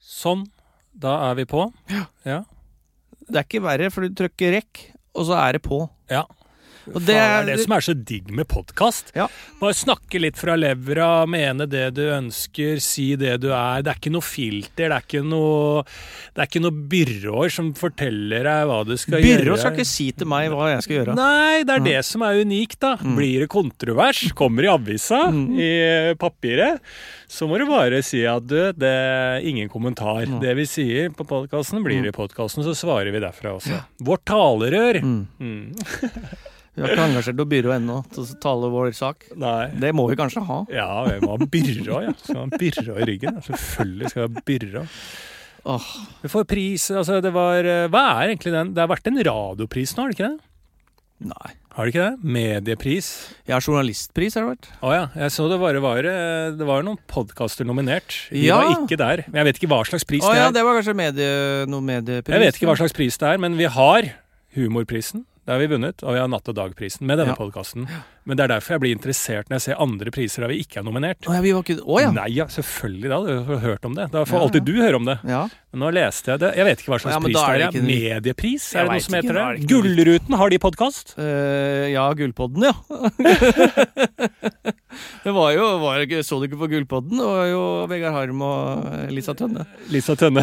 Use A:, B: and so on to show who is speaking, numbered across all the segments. A: Sånn. Da er vi på.
B: Det er ikke verre, for du trykker rekk, og så er det på.
A: Ja.
B: Og
A: Faen,
B: det
A: det
B: er-
A: er det som er så digg med podkast.
B: Ja.
A: Bare snakke litt fra levra, mene det du ønsker, si det du er. Det er ikke noe filter, det er ikke noe, det er ikke noe byråer som forteller deg hva du skal gjøre.
B: Byrå skal ikke si til meg hva jeg skal gjøre.
A: Nei, det er det som er unikt, da.
B: Mm.
A: Blir det kontrovers, kommer i avisa, i papiret, så må du bare si at du, det er ingen kommentar. Det vi sier på podkasten,
B: Mm.
A: blir i podkasten, så svarer vi derfra også. Vårt talerør. Mm.
B: Vi har ikke engasjert noe byrå ennå til å tale vår sak.
A: Nei.
B: Det må vi kanskje ha.
A: Ja, vi må ha byrå, ja. Skal ha byrå i ryggen. ja. Selvfølgelig skal vi ha byrå.
B: Åh,
A: Vi får pris Altså, det var eh, Hva er egentlig den? Det har vært en radiopris nå, har det ikke det?
B: nei.
A: Har det ikke det? Mediepris.
B: Jeg har journalistpris, har det vært.
A: Å ja. Jeg så det bare var eh, Det var noen podkaster nominert. Vi
B: Ja.
A: var ikke der. Men jeg vet ikke hva slags pris
B: Å
A: det
B: ja,
A: er.
B: det var kanskje medie, noe mediepris.
A: Jeg vet ikke hva slags pris det er, men vi har Humorprisen. Det har vi vunnet. Og vi har Natt og dag-prisen med denne
B: Ja.
A: podkasten. Men det er derfor jeg blir interessert når jeg ser andre priser der vi ikke er nominert.
B: Å ja, vi var ikke Å ja.
A: Nei ja, selvfølgelig. Da hadde du hørt om det. Da får
B: Ja,
A: alltid du høre om det.
B: ja.
A: Men nå leste jeg det. Jeg vet ikke hva slags
B: Ja, men
A: pris
B: da er
A: det
B: det
A: er.
B: ikke-
A: Mediepris?
B: Jeg
A: Er det
B: vet
A: noe som
B: ikke,
A: heter
B: da er
A: det?
B: det ikke noe-
A: Gullruten, har de podkast?
B: Eh, ja, Gullpodden, ja. det var jo var, det ikke- Så du ikke på Gullpodden? Det var jo Vegard Harm og Elisa Tønne.
A: Lisa Tønne.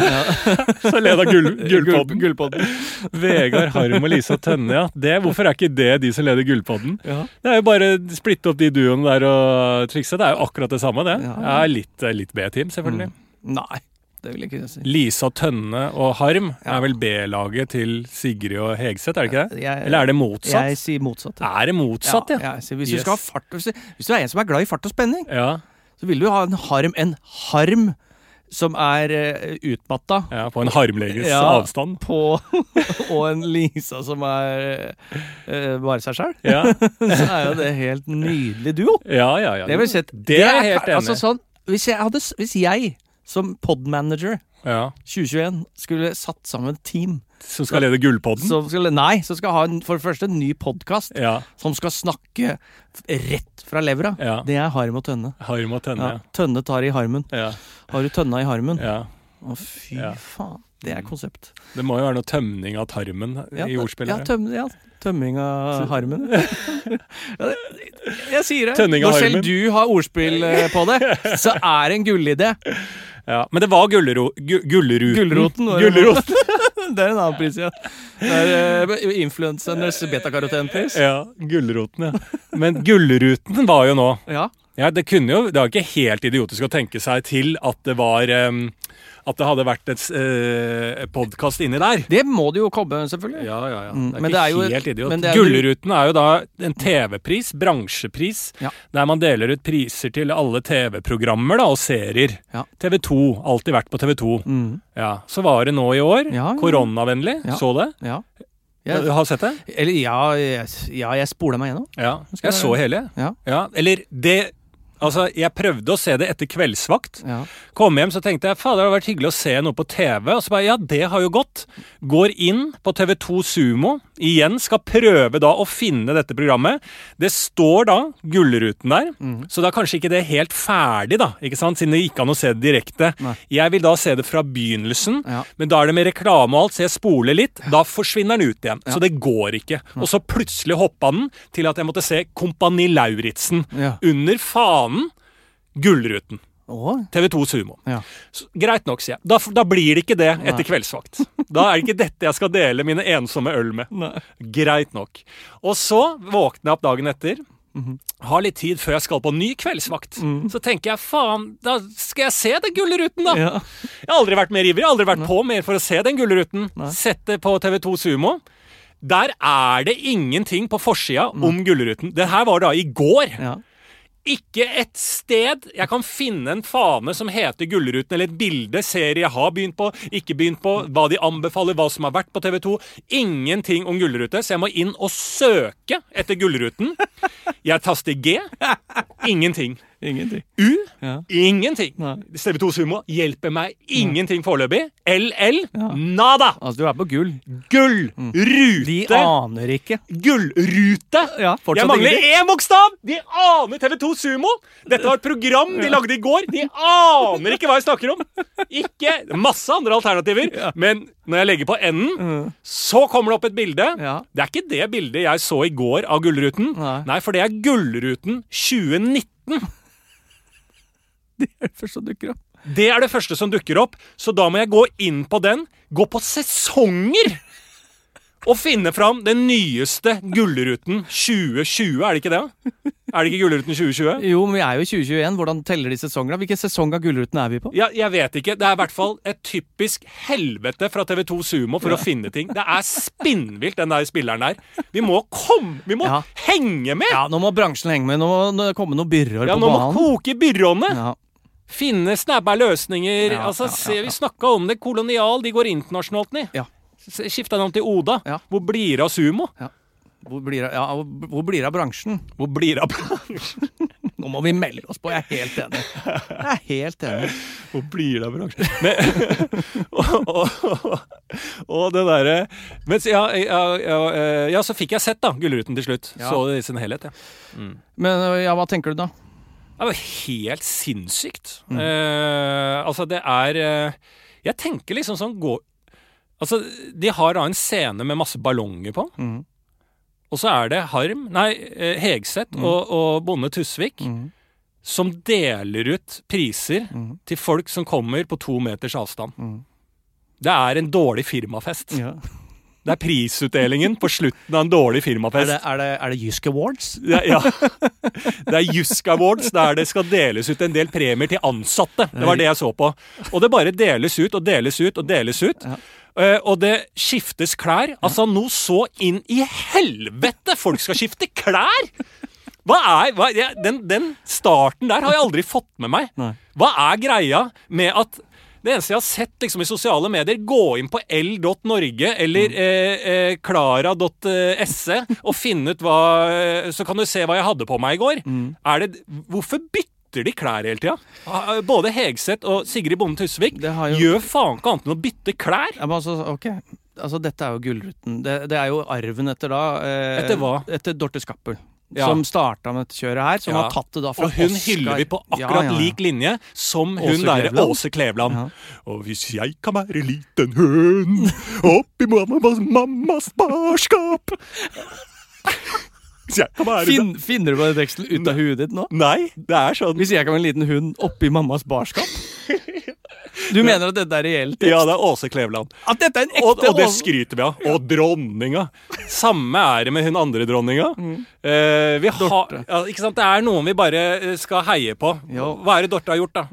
A: Så leda gull, Gullpodden.
B: Eh, Gull- Gullpodden.
A: Vegard Harm og Lisa Tønne, ja. Det, hvorfor er ikke det de som leder Gullpodden?
B: Ja.
A: Det er jo bare å splitte opp de duoene der og trikse. Det er jo akkurat det samme, det.
B: Ja. Mm.
A: Ja, litt, eh, litt B-team, selvfølgelig.
B: Nei, det vil jeg ikke si.
A: Lisa Tønne og Harm
B: Ja.
A: er vel B-laget til Sigrid og Hegseth, er det ikke det?
B: Jeg-
A: Eller er det motsatt?
B: Jeg sier motsatt. ja.
A: Er det motsatt, ja?
B: Ja, jeg sier, hvis,
A: Yes.
B: du skal ha fart, hvis, du- hvis du er en som er glad i fart og spenning,
A: Ja,
B: så vil du ha en harm, en harm som er eh, utmatta
A: ja på en harmleges
B: Ja.
A: avstand.
B: på Og en Lisa som er eh, bare seg sjæl.
A: Ja,
B: Så er jo det helt nydelig duo.
A: ja, ja. ja.
B: Det vil si at
A: Det er jeg helt enig
B: altså,
A: i.
B: sånn, hvis, jeg hadde, s- hvis jeg som podmanager
A: Ja.
B: 2021 skulle satt sammen et team
A: Som skal lede Gullpodden?
B: som skulle, Nei, som skal ha en, for det første en ny podkast
A: Ja.
B: som skal snakke f- rett fra levra,
A: ja.
B: det er harm og tønne.
A: Harm og Tønne,
B: Ja, tønne tar i harmen.
A: ja.
B: Har du tønna i harmen?
A: ja. ja.
B: Å, fy
A: Ja.
B: faen. Det er konsept.
A: Det må jo være noe tømning av tarmen
B: Ja,
A: i ordspillet.
B: Ja, tøm, ja, tømming av harmen. Ja, det- jeg sier det.
A: Tønning av
B: Når
A: harmen.
B: selv du har ordspill eh, på det, så er det en gullidé.
A: Ja, men det var gullro, gu, gullruten.
B: Gullroten var det.
A: Gullroten,
B: Det er en annen pris, ja. Det er eh, influencernes betakarotenpris.
A: ja, gullroten, ja. Men gullruten var jo nå.
B: Ja.
A: Ja, det kunne jo, det var ikke helt idiotisk å tenke seg til at det var em, At det hadde vært et uh, podkast inni der.
B: Det må det jo komme, selvfølgelig.
A: Ja, ja, ja.
B: Mm,
A: Det er
B: men
A: ikke
B: det er jo-
A: helt idiot.
B: men det er jo-
A: Gullruten er jo da en TV-pris, bransjepris,
B: Ja.
A: der man deler ut priser til alle TV-programmer da, og serier.
B: Ja.
A: TV 2. Alltid vært på TV 2.
B: Mm,
A: Ja. Så var det nå i år.
B: Ja, ja.
A: Koronavennlig.
B: Ja.
A: Så det?
B: ja.
A: Du
B: Jeg,
A: har sett det?
B: eller ja, jeg, ja, jeg spola meg gjennom.
A: Ja,
B: skal
A: jeg
B: jeg
A: så hele.
B: Ja.
A: Eller det Altså, jeg prøvde å se det etter kveldsvakt.
B: Ja.
A: Kom hjem så tenkte jeg fader, det hadde vært hyggelig å se noe på TV. Og så bare ja, det har jo gått. Går inn på TV2 Sumo igjen, skal prøve da å finne dette programmet. Det står da Gullruten der,
B: Mhm.
A: så da er kanskje ikke det helt ferdig, da. ikke sant? Siden det gikk an å se det direkte.
B: Nei.
A: Jeg vil da se det fra begynnelsen,
B: Ja.
A: men da er det med reklame og alt, så jeg spoler litt. Da forsvinner den ut igjen. Så det går ikke. Og så plutselig hoppa den til at jeg måtte se Kompani Lauritzen.
B: Ja.
A: Under fanen Gullruten.
B: Å,
A: TV2 Sumo.
B: ja.
A: Så, greit nok, sier jeg. Da, f- da blir det ikke det etter kveldsvakt. Da er det ikke dette jeg skal dele mine ensomme øl med. Greit nok. Og så våkner jeg opp dagen etter. Har litt tid før jeg skal på ny kveldsvakt. Så tenker jeg faen, da skal jeg se den gullruten, da.
B: Ja.
A: Jeg har aldri vært mer ivrig, aldri vært på mer for å se den gullruten. Sett det på TV2 Sumo. Der er det ingenting på forsida om gullruten. Det her var da i går.
B: Ja.
A: Ikke et sted jeg kan finne en fane som heter Gullruten, eller et bilde serier jeg har begynt på, ikke begynt på, hva de anbefaler, hva som har vært på TV2. Ingenting om Gullrute, så jeg må inn og søke etter Gullruten. Jeg taster G. Ingenting.
B: Ingenting.
A: U?
B: Ja.
A: Ingenting.
B: Nei.
A: TV2 Sumo hjelper meg ingenting foreløpig. LL?
B: Ja.
A: Nada!
B: Altså, du er på gull.
A: Gull!
B: De
A: Rute!
B: aner ikke.
A: Gullrute!
B: Ja, fortsatt
A: Jeg mangler
B: ingenting.
A: én bokstav! De aner TV2 Sumo! Dette var et program de lagde i går. De aner ikke hva jeg snakker om. Ikke Masse andre alternativer,
B: Ja. Mm.
A: men når jeg legger på enden, så kommer det opp et bilde.
B: Ja.
A: Det er ikke det bildet jeg så i går av Gullruten.
B: Nei.
A: for det er Gullruten 2019.
B: Det er det første som dukker opp.
A: Det er det første som dukker opp, så da må jeg gå inn på den, gå på sesonger! Og finne fram den nyeste Gullruten 2020, er det ikke det? Er det ikke Gullruten 2020?
B: Jo, men vi er jo i 2021. Hvordan teller de sesongene? Hvilken sesong av Gullruten er vi på?
A: Ja, jeg vet ikke. Det er i hvert fall et typisk helvete fra TV2 Sumo for å finne ting. Det er spinnvilt, den der spilleren der. Vi må komme Vi må
B: Ja.
A: henge med!
B: Ja, nå må bransjen henge med. Nå må det komme noen byrår
A: Ja,
B: på
A: nå må
B: banen.
A: koke i byråene!
B: Ja.
A: Finne snabba løsninger.
B: Ja,
A: altså,
B: ja, ja,
A: se, Vi snakka om det. Kolonial, de går internasjonalt, ni.
B: Ja.
A: Skifta navn til Oda.
B: Ja.
A: Hvor blir det av sumo?
B: Hvor blir det ja, hvor blir det av bransjen?
A: Hvor blir det av bransjen?
B: Nå må vi melde oss på, jeg er helt enig. Jeg er helt enig.
A: Hvor blir det av bransjen? Men, og, og, og, og det derre Mens ja, ja, ja, eh, ja, så fikk jeg sett da Gullruten til slutt.
B: Ja.
A: Så det i sin helhet, ja.
B: Men øh, ja, hva tenker du da?
A: Det var helt sinnssykt.
B: Mm.
A: Eh, altså, det er eh, Jeg tenker liksom sånn gå, Altså, de har da en scene med masse ballonger på.
B: Mhm.
A: Og så er det Harm, nei, eh, Hegseth
B: Mm.
A: og, og Bonde Tusvik
B: Mhm.
A: som deler ut priser
B: Mhm.
A: til folk som kommer på to meters avstand.
B: Mhm.
A: Det er en dårlig firmafest.
B: Ja.
A: Det er prisutdelingen på slutten av en dårlig
B: Er,
A: firmafest.
B: det, er, det, er det Jysk Awards?
A: Det, ja. det er Jysk Awards, der det skal deles ut en del premier til ansatte. Det var det jeg så på. Og det bare deles ut og deles ut og deles ut.
B: Ja.
A: Eh, og det skiftes klær. Altså, nå så inn i helvete folk skal skifte klær! Hva er, hva, jeg, den, den starten der har jeg aldri fått med meg.
B: Nei.
A: Hva er greia med at det eneste jeg har sett liksom, i sosiale medier, gå inn på l.norge eller
B: Mm.
A: eh, klara.se E og finne ut hva eh, Så kan du se hva jeg hadde på meg i går.
B: Mm.
A: Er det, hvorfor bytter de klær hele tida? Ah, Både Hegseth og Sigrid Bonde Tusvik
B: Det har jo-
A: gjør faen ikke annet enn å bytte klær.
B: Ja, men altså, ok. Altså, dette er jo Gullruten. Det, det er jo arven etter da eh,
A: Etter hva?
B: Etter Dorte Skappel.
A: Ja.
B: Som starta med dette kjøret her. Som
A: Ja.
B: har tatt det da fra
A: Og hun
B: Oscar.
A: hyller vi på akkurat
B: Ja, ja, ja.
A: lik linje som
B: Åse
A: hun derre
B: Kleveland.
A: Åse Kleveland.
B: Ja.
A: Og hvis jeg kan være liten høn oppi mammas, mammas barskap Hvis jeg kan være
B: Finn, finner du på den teksten ut av huet ditt nå?
A: Nei, det er sånn.
B: Hvis jeg kan være en liten hund oppi mammas barskap? Du mener at dette er reelt?
A: Ja, det er Åse Kleveland.
B: At dette er en
A: Og,
B: ekte
A: og det
B: Ås-
A: skryter vi av. Og dronninga. Samme er det med hun andre dronninga.
B: Mm.
A: Eh, vi har, ja, ikke sant? Det er noen vi bare eh, skal heie på.
B: Ja.
A: Hva er det Dorte har gjort, da?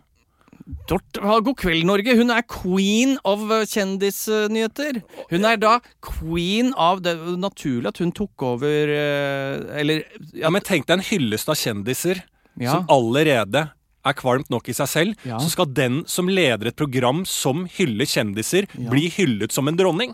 B: Dorte, ha, God kveld, Norge. Hun er queen av eh, kjendisnyheter. Hun er da queen av det er jo Naturlig at hun tok over eh, Eller
A: Ja, men Tenk deg en hyllest av kjendiser
B: Ja.
A: som allerede er kvalmt nok i seg selv.
B: Ja.
A: Så skal den som leder et program som hyller kjendiser, bli hyllet som en dronning.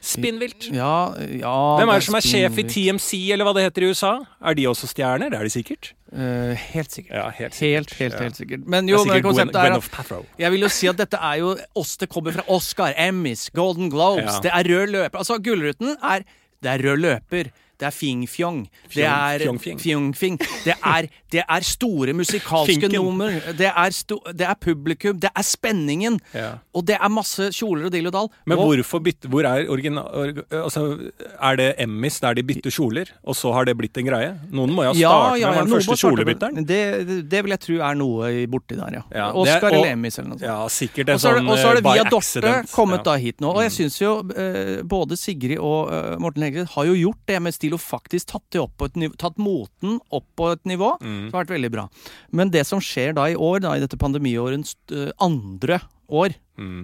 A: Spinnvilt.
B: ja, ja
A: Hvem er det som er sjef i
B: spinnvilt.
A: TMC, eller hva det heter i USA? Er de også stjerner? Det er de sikkert.
B: Eh, helt sikkert.
A: Ja, helt
B: Helt, helt, helt sikkert. Men
A: Det
B: jo,
A: er
B: men
A: sikkert Gwen,
B: konseptet er
A: Gwen
B: at
A: of Pathrow.
B: jeg vil jo si at dette er jo oss det kommer fra. Oscar, Emmys, Golden Globes.
A: Ja.
B: Det er rød løper. Altså, Gullruten er Det er rød løper. Det er fing-fjong. Det
A: Fjong-
B: er
A: fjong-fjing.
B: fjong-fing. Det, er- det er store musikalske
A: Finken.
B: nummer. Det er, sto, det er publikum. Det er spenningen.
A: Ja.
B: Og det er masse kjoler og dill og dall.
A: Men
B: og,
A: hvorfor bytte Hvor er original... org- Altså, er det Emmys der de bytter kjoler, og så har det blitt en greie? Noen må jo ha startet med den
B: noe må
A: første
B: starte med-
A: kjolebytteren.
B: Det, det, det vil jeg tro er noe i- borti der, ja.
A: Ja, det er-
B: Oscar
A: og-
B: eller Emmys eller noe sånt.
A: Ja, sikkert en
B: Og så
A: sånn
B: er det, og så er det
A: eh, by
B: via Dorte
A: accident.
B: kommet
A: Ja. Mm.
B: da hit nå. Og jeg syns jo eh, både Sigrid og eh, Morten Hegseth har jo gjort det med stil og faktisk tatt, det opp på et niv- tatt moten opp på et nivå.
A: Mm,
B: Som har vært veldig bra. Men det som skjer da i år, da i dette pandemiårens eh, andre år,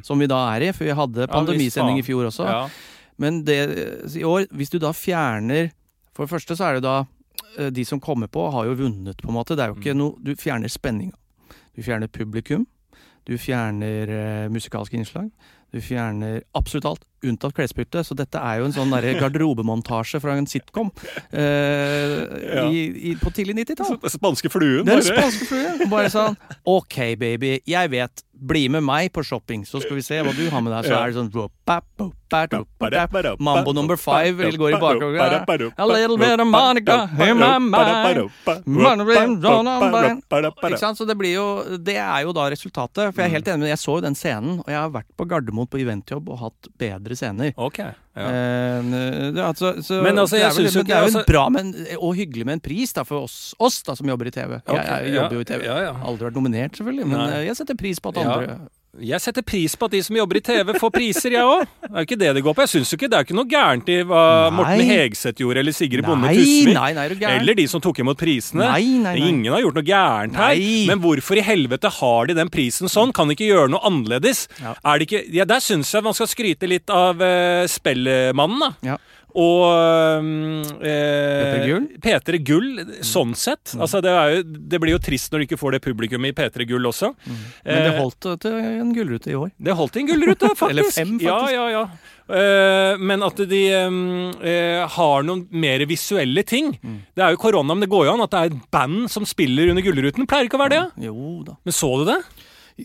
B: som vi da er i, for vi hadde pandemisending i fjor også.
A: mm. Ja.
B: Men det, i år, hvis du da fjerner For det første så er det da eh, De som kommer på, har jo vunnet, på en måte. Det er jo
A: Mm.
B: ikke noe Du fjerner spenninga. Du fjerner publikum. Du fjerner eh, musikalske innslag. Du fjerner absolutt alt, unntatt klesbytte. Så dette er jo en sånn derre garderobemontasje fra en sitcom eh,
A: Ja.
B: i, i, på tidlig 90-tall.
A: Den spanske fluen,
B: Den
A: bare.
B: spanske fluen. Bare sånn OK, baby, jeg vet. Bli med meg på shopping, så skal vi se hva du har med deg. Så
A: Ja.
B: er det sånn ropa, ropa, ropa, Mambo number five eller går i bakgrunnen. A little bit of Monica in my mind. Ikke sant? Så det blir jo Det er jo da resultatet. For jeg
A: Mm.
B: er helt enig med Jeg så jo den scenen, og jeg har vært på Gardermoen på eventjobb og hatt bedre scener.
A: Ok. Ja.
B: Eh, det, er altså, så,
A: Men altså,
B: det er
A: jeg
B: vel-
A: synes jo
B: men det er jo
A: ikke-
B: bra men, eh, og hyggelig med en pris da, for oss, oss da, som jobber i TV.
A: Ok,
B: jeg, jeg
A: ja,
B: jobber jo i TV.
A: ja, ja.
B: Aldri vært nominert, selvfølgelig, men
A: Nei.
B: eh, jeg setter pris på at
A: Ja.
B: andre
A: Jeg setter pris på at de som jobber i TV, får priser, jeg òg. Det er jo ikke det det går på. Jeg synes jo ikke det er ikke noe gærent i hva
B: Nei.
A: Morten Hegseth gjorde, eller Sigrid Bonde
B: Nei,
A: Tusvik.
B: nei, nei, er du gæren?
A: Eller de som tok imot prisene.
B: Nei, nei, nei.
A: Ingen har gjort noe gærent her.
B: Nei.
A: Men hvorfor i helvete har de den prisen sånn? Kan de ikke gjøre noe annerledes?
B: Ja.
A: Er det ikke, ja, der syns jeg man skal skryte litt av eh, Spellemannen, da.
B: Ja.
A: Og um, eh,
B: Peter Gull? Mm.
A: Peter Gull, sånn sett. Altså, det, er jo, det blir jo trist når du ikke får det publikummet i P3 Gull også.
B: Men det
A: Eh,
B: holdt eh, til en gullrute i år.
A: det holdt i en gullrute, faktisk.
B: Eller fem, faktisk.
A: Ja, ja, ja. Eh, men at de eh, eh, har noen mer visuelle ting.
B: Mm.
A: Det er jo korona, men det går jo an at det er et band som spiller under Gullruten. Pleier ikke å være det?
B: Jo da.
A: Men så du det?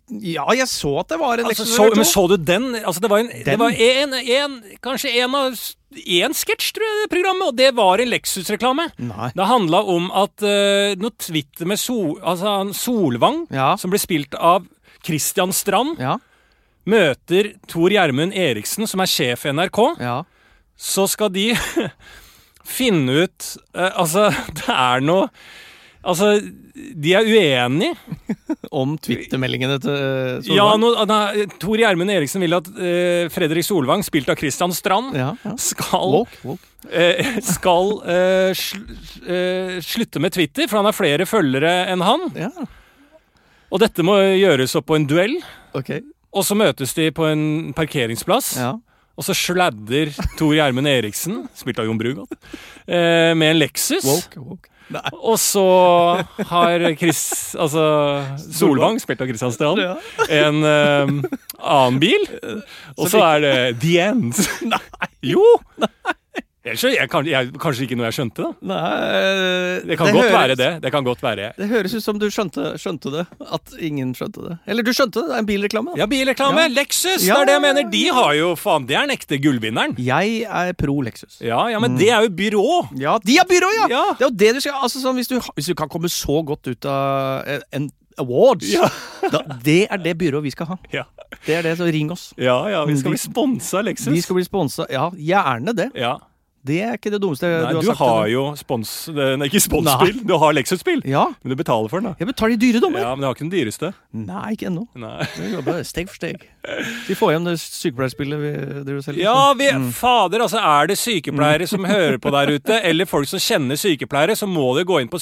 B: Ja, jeg så at det var en
A: Altså,
B: Lexus
A: så,
B: eller
A: men
B: to.
A: så du den? Altså, det var, en, det
B: Den?
A: var en, en, kanskje en av én sketsj, tror jeg, i det programmet, og det var en Lexus-reklame.
B: Nei.
A: Det handla om at eh, noe Twitter med Sol, altså, han Solvang,
B: Ja.
A: som ble spilt av Christian Strand,
B: Ja,
A: møter Tor Gjermund Eriksen, som er sjef i NRK.
B: ja.
A: Så skal de finne ut eh, Altså, det er noe Altså, de er uenige.
B: Om twittermeldingene til eh,
A: Ja,
B: Solvang.
A: nå- ah, nei, Tor Gjermund Eriksen vil at eh, Fredrik Solvang, spilt av Christian Strand,
B: ja, ja.
A: skal,
B: Woke, woke.
A: eh, skal eh, sl eh, slutte med Twitter, for han har flere følgere enn han.
B: Ja,
A: Og dette må gjøres opp på en duell.
B: ok.
A: Og så møtes de på en parkeringsplass.
B: Ja.
A: Og så sladder Tor Gjermund Eriksen, spilt av Jon Brugodt, eh, med en Lexus.
B: Woke, woke. Nei.
A: Og så har Chris, altså Solvang, spilt av Christian Strand,
B: Ja.
A: en eh, annen bil. Og så er det The End. Nei! Jo! Ellers så jeg, kan- jeg, kanskje ikke noe jeg skjønte, da.
B: Nei, eh,
A: Det kan godt
B: høres-
A: være det. Det kan godt være.
B: Det høres ut som du skjønte, skjønte det. At ingen skjønte det. Eller du skjønte det, det er en bilreklame. da.
A: Ja, bilreklame!
B: Ja.
A: Lexus! Det
B: Ja.
A: er det jeg mener. De har jo faen Det er den ekte gullvinneren.
B: Jeg er pro Lexus.
A: Ja, ja, men det er jo byrå.
B: Ja, de er byrå, ja!
A: Ja.
B: Det er jo det du skal altså, sånn, hvis, du, hvis du kan komme så godt ut av eh, en awards, da, det er det byrået vi skal ha.
A: Ja,
B: Det er det, så ring oss.
A: ja, ja vi skal
B: Vi-
A: bli sponsa av Lexus.
B: Mm. Vi skal bli sponsa. Ja, gjerne det.
A: Ja.
B: Det er ikke det dummeste
A: Nei,
B: du har
A: du
B: sagt.
A: har
B: til meg.
A: jo spons... eh, Nei, ikke sponsspill, du har Lexus-spill.
B: Ja.
A: Men du betaler for den, da.
B: Jeg betaler de dyre dommer.
A: Ja, men du har ikke den dyreste.
B: Nei, ikke ennå.
A: Nei.
B: Vi jobber steg for steg. Vi får hjem det sykepleierspillet vi driver og selger.
A: Ja, vi, fader, altså er det sykepleiere som hører på der ute, eller folk som kjenner sykepleiere, så må dere gå inn på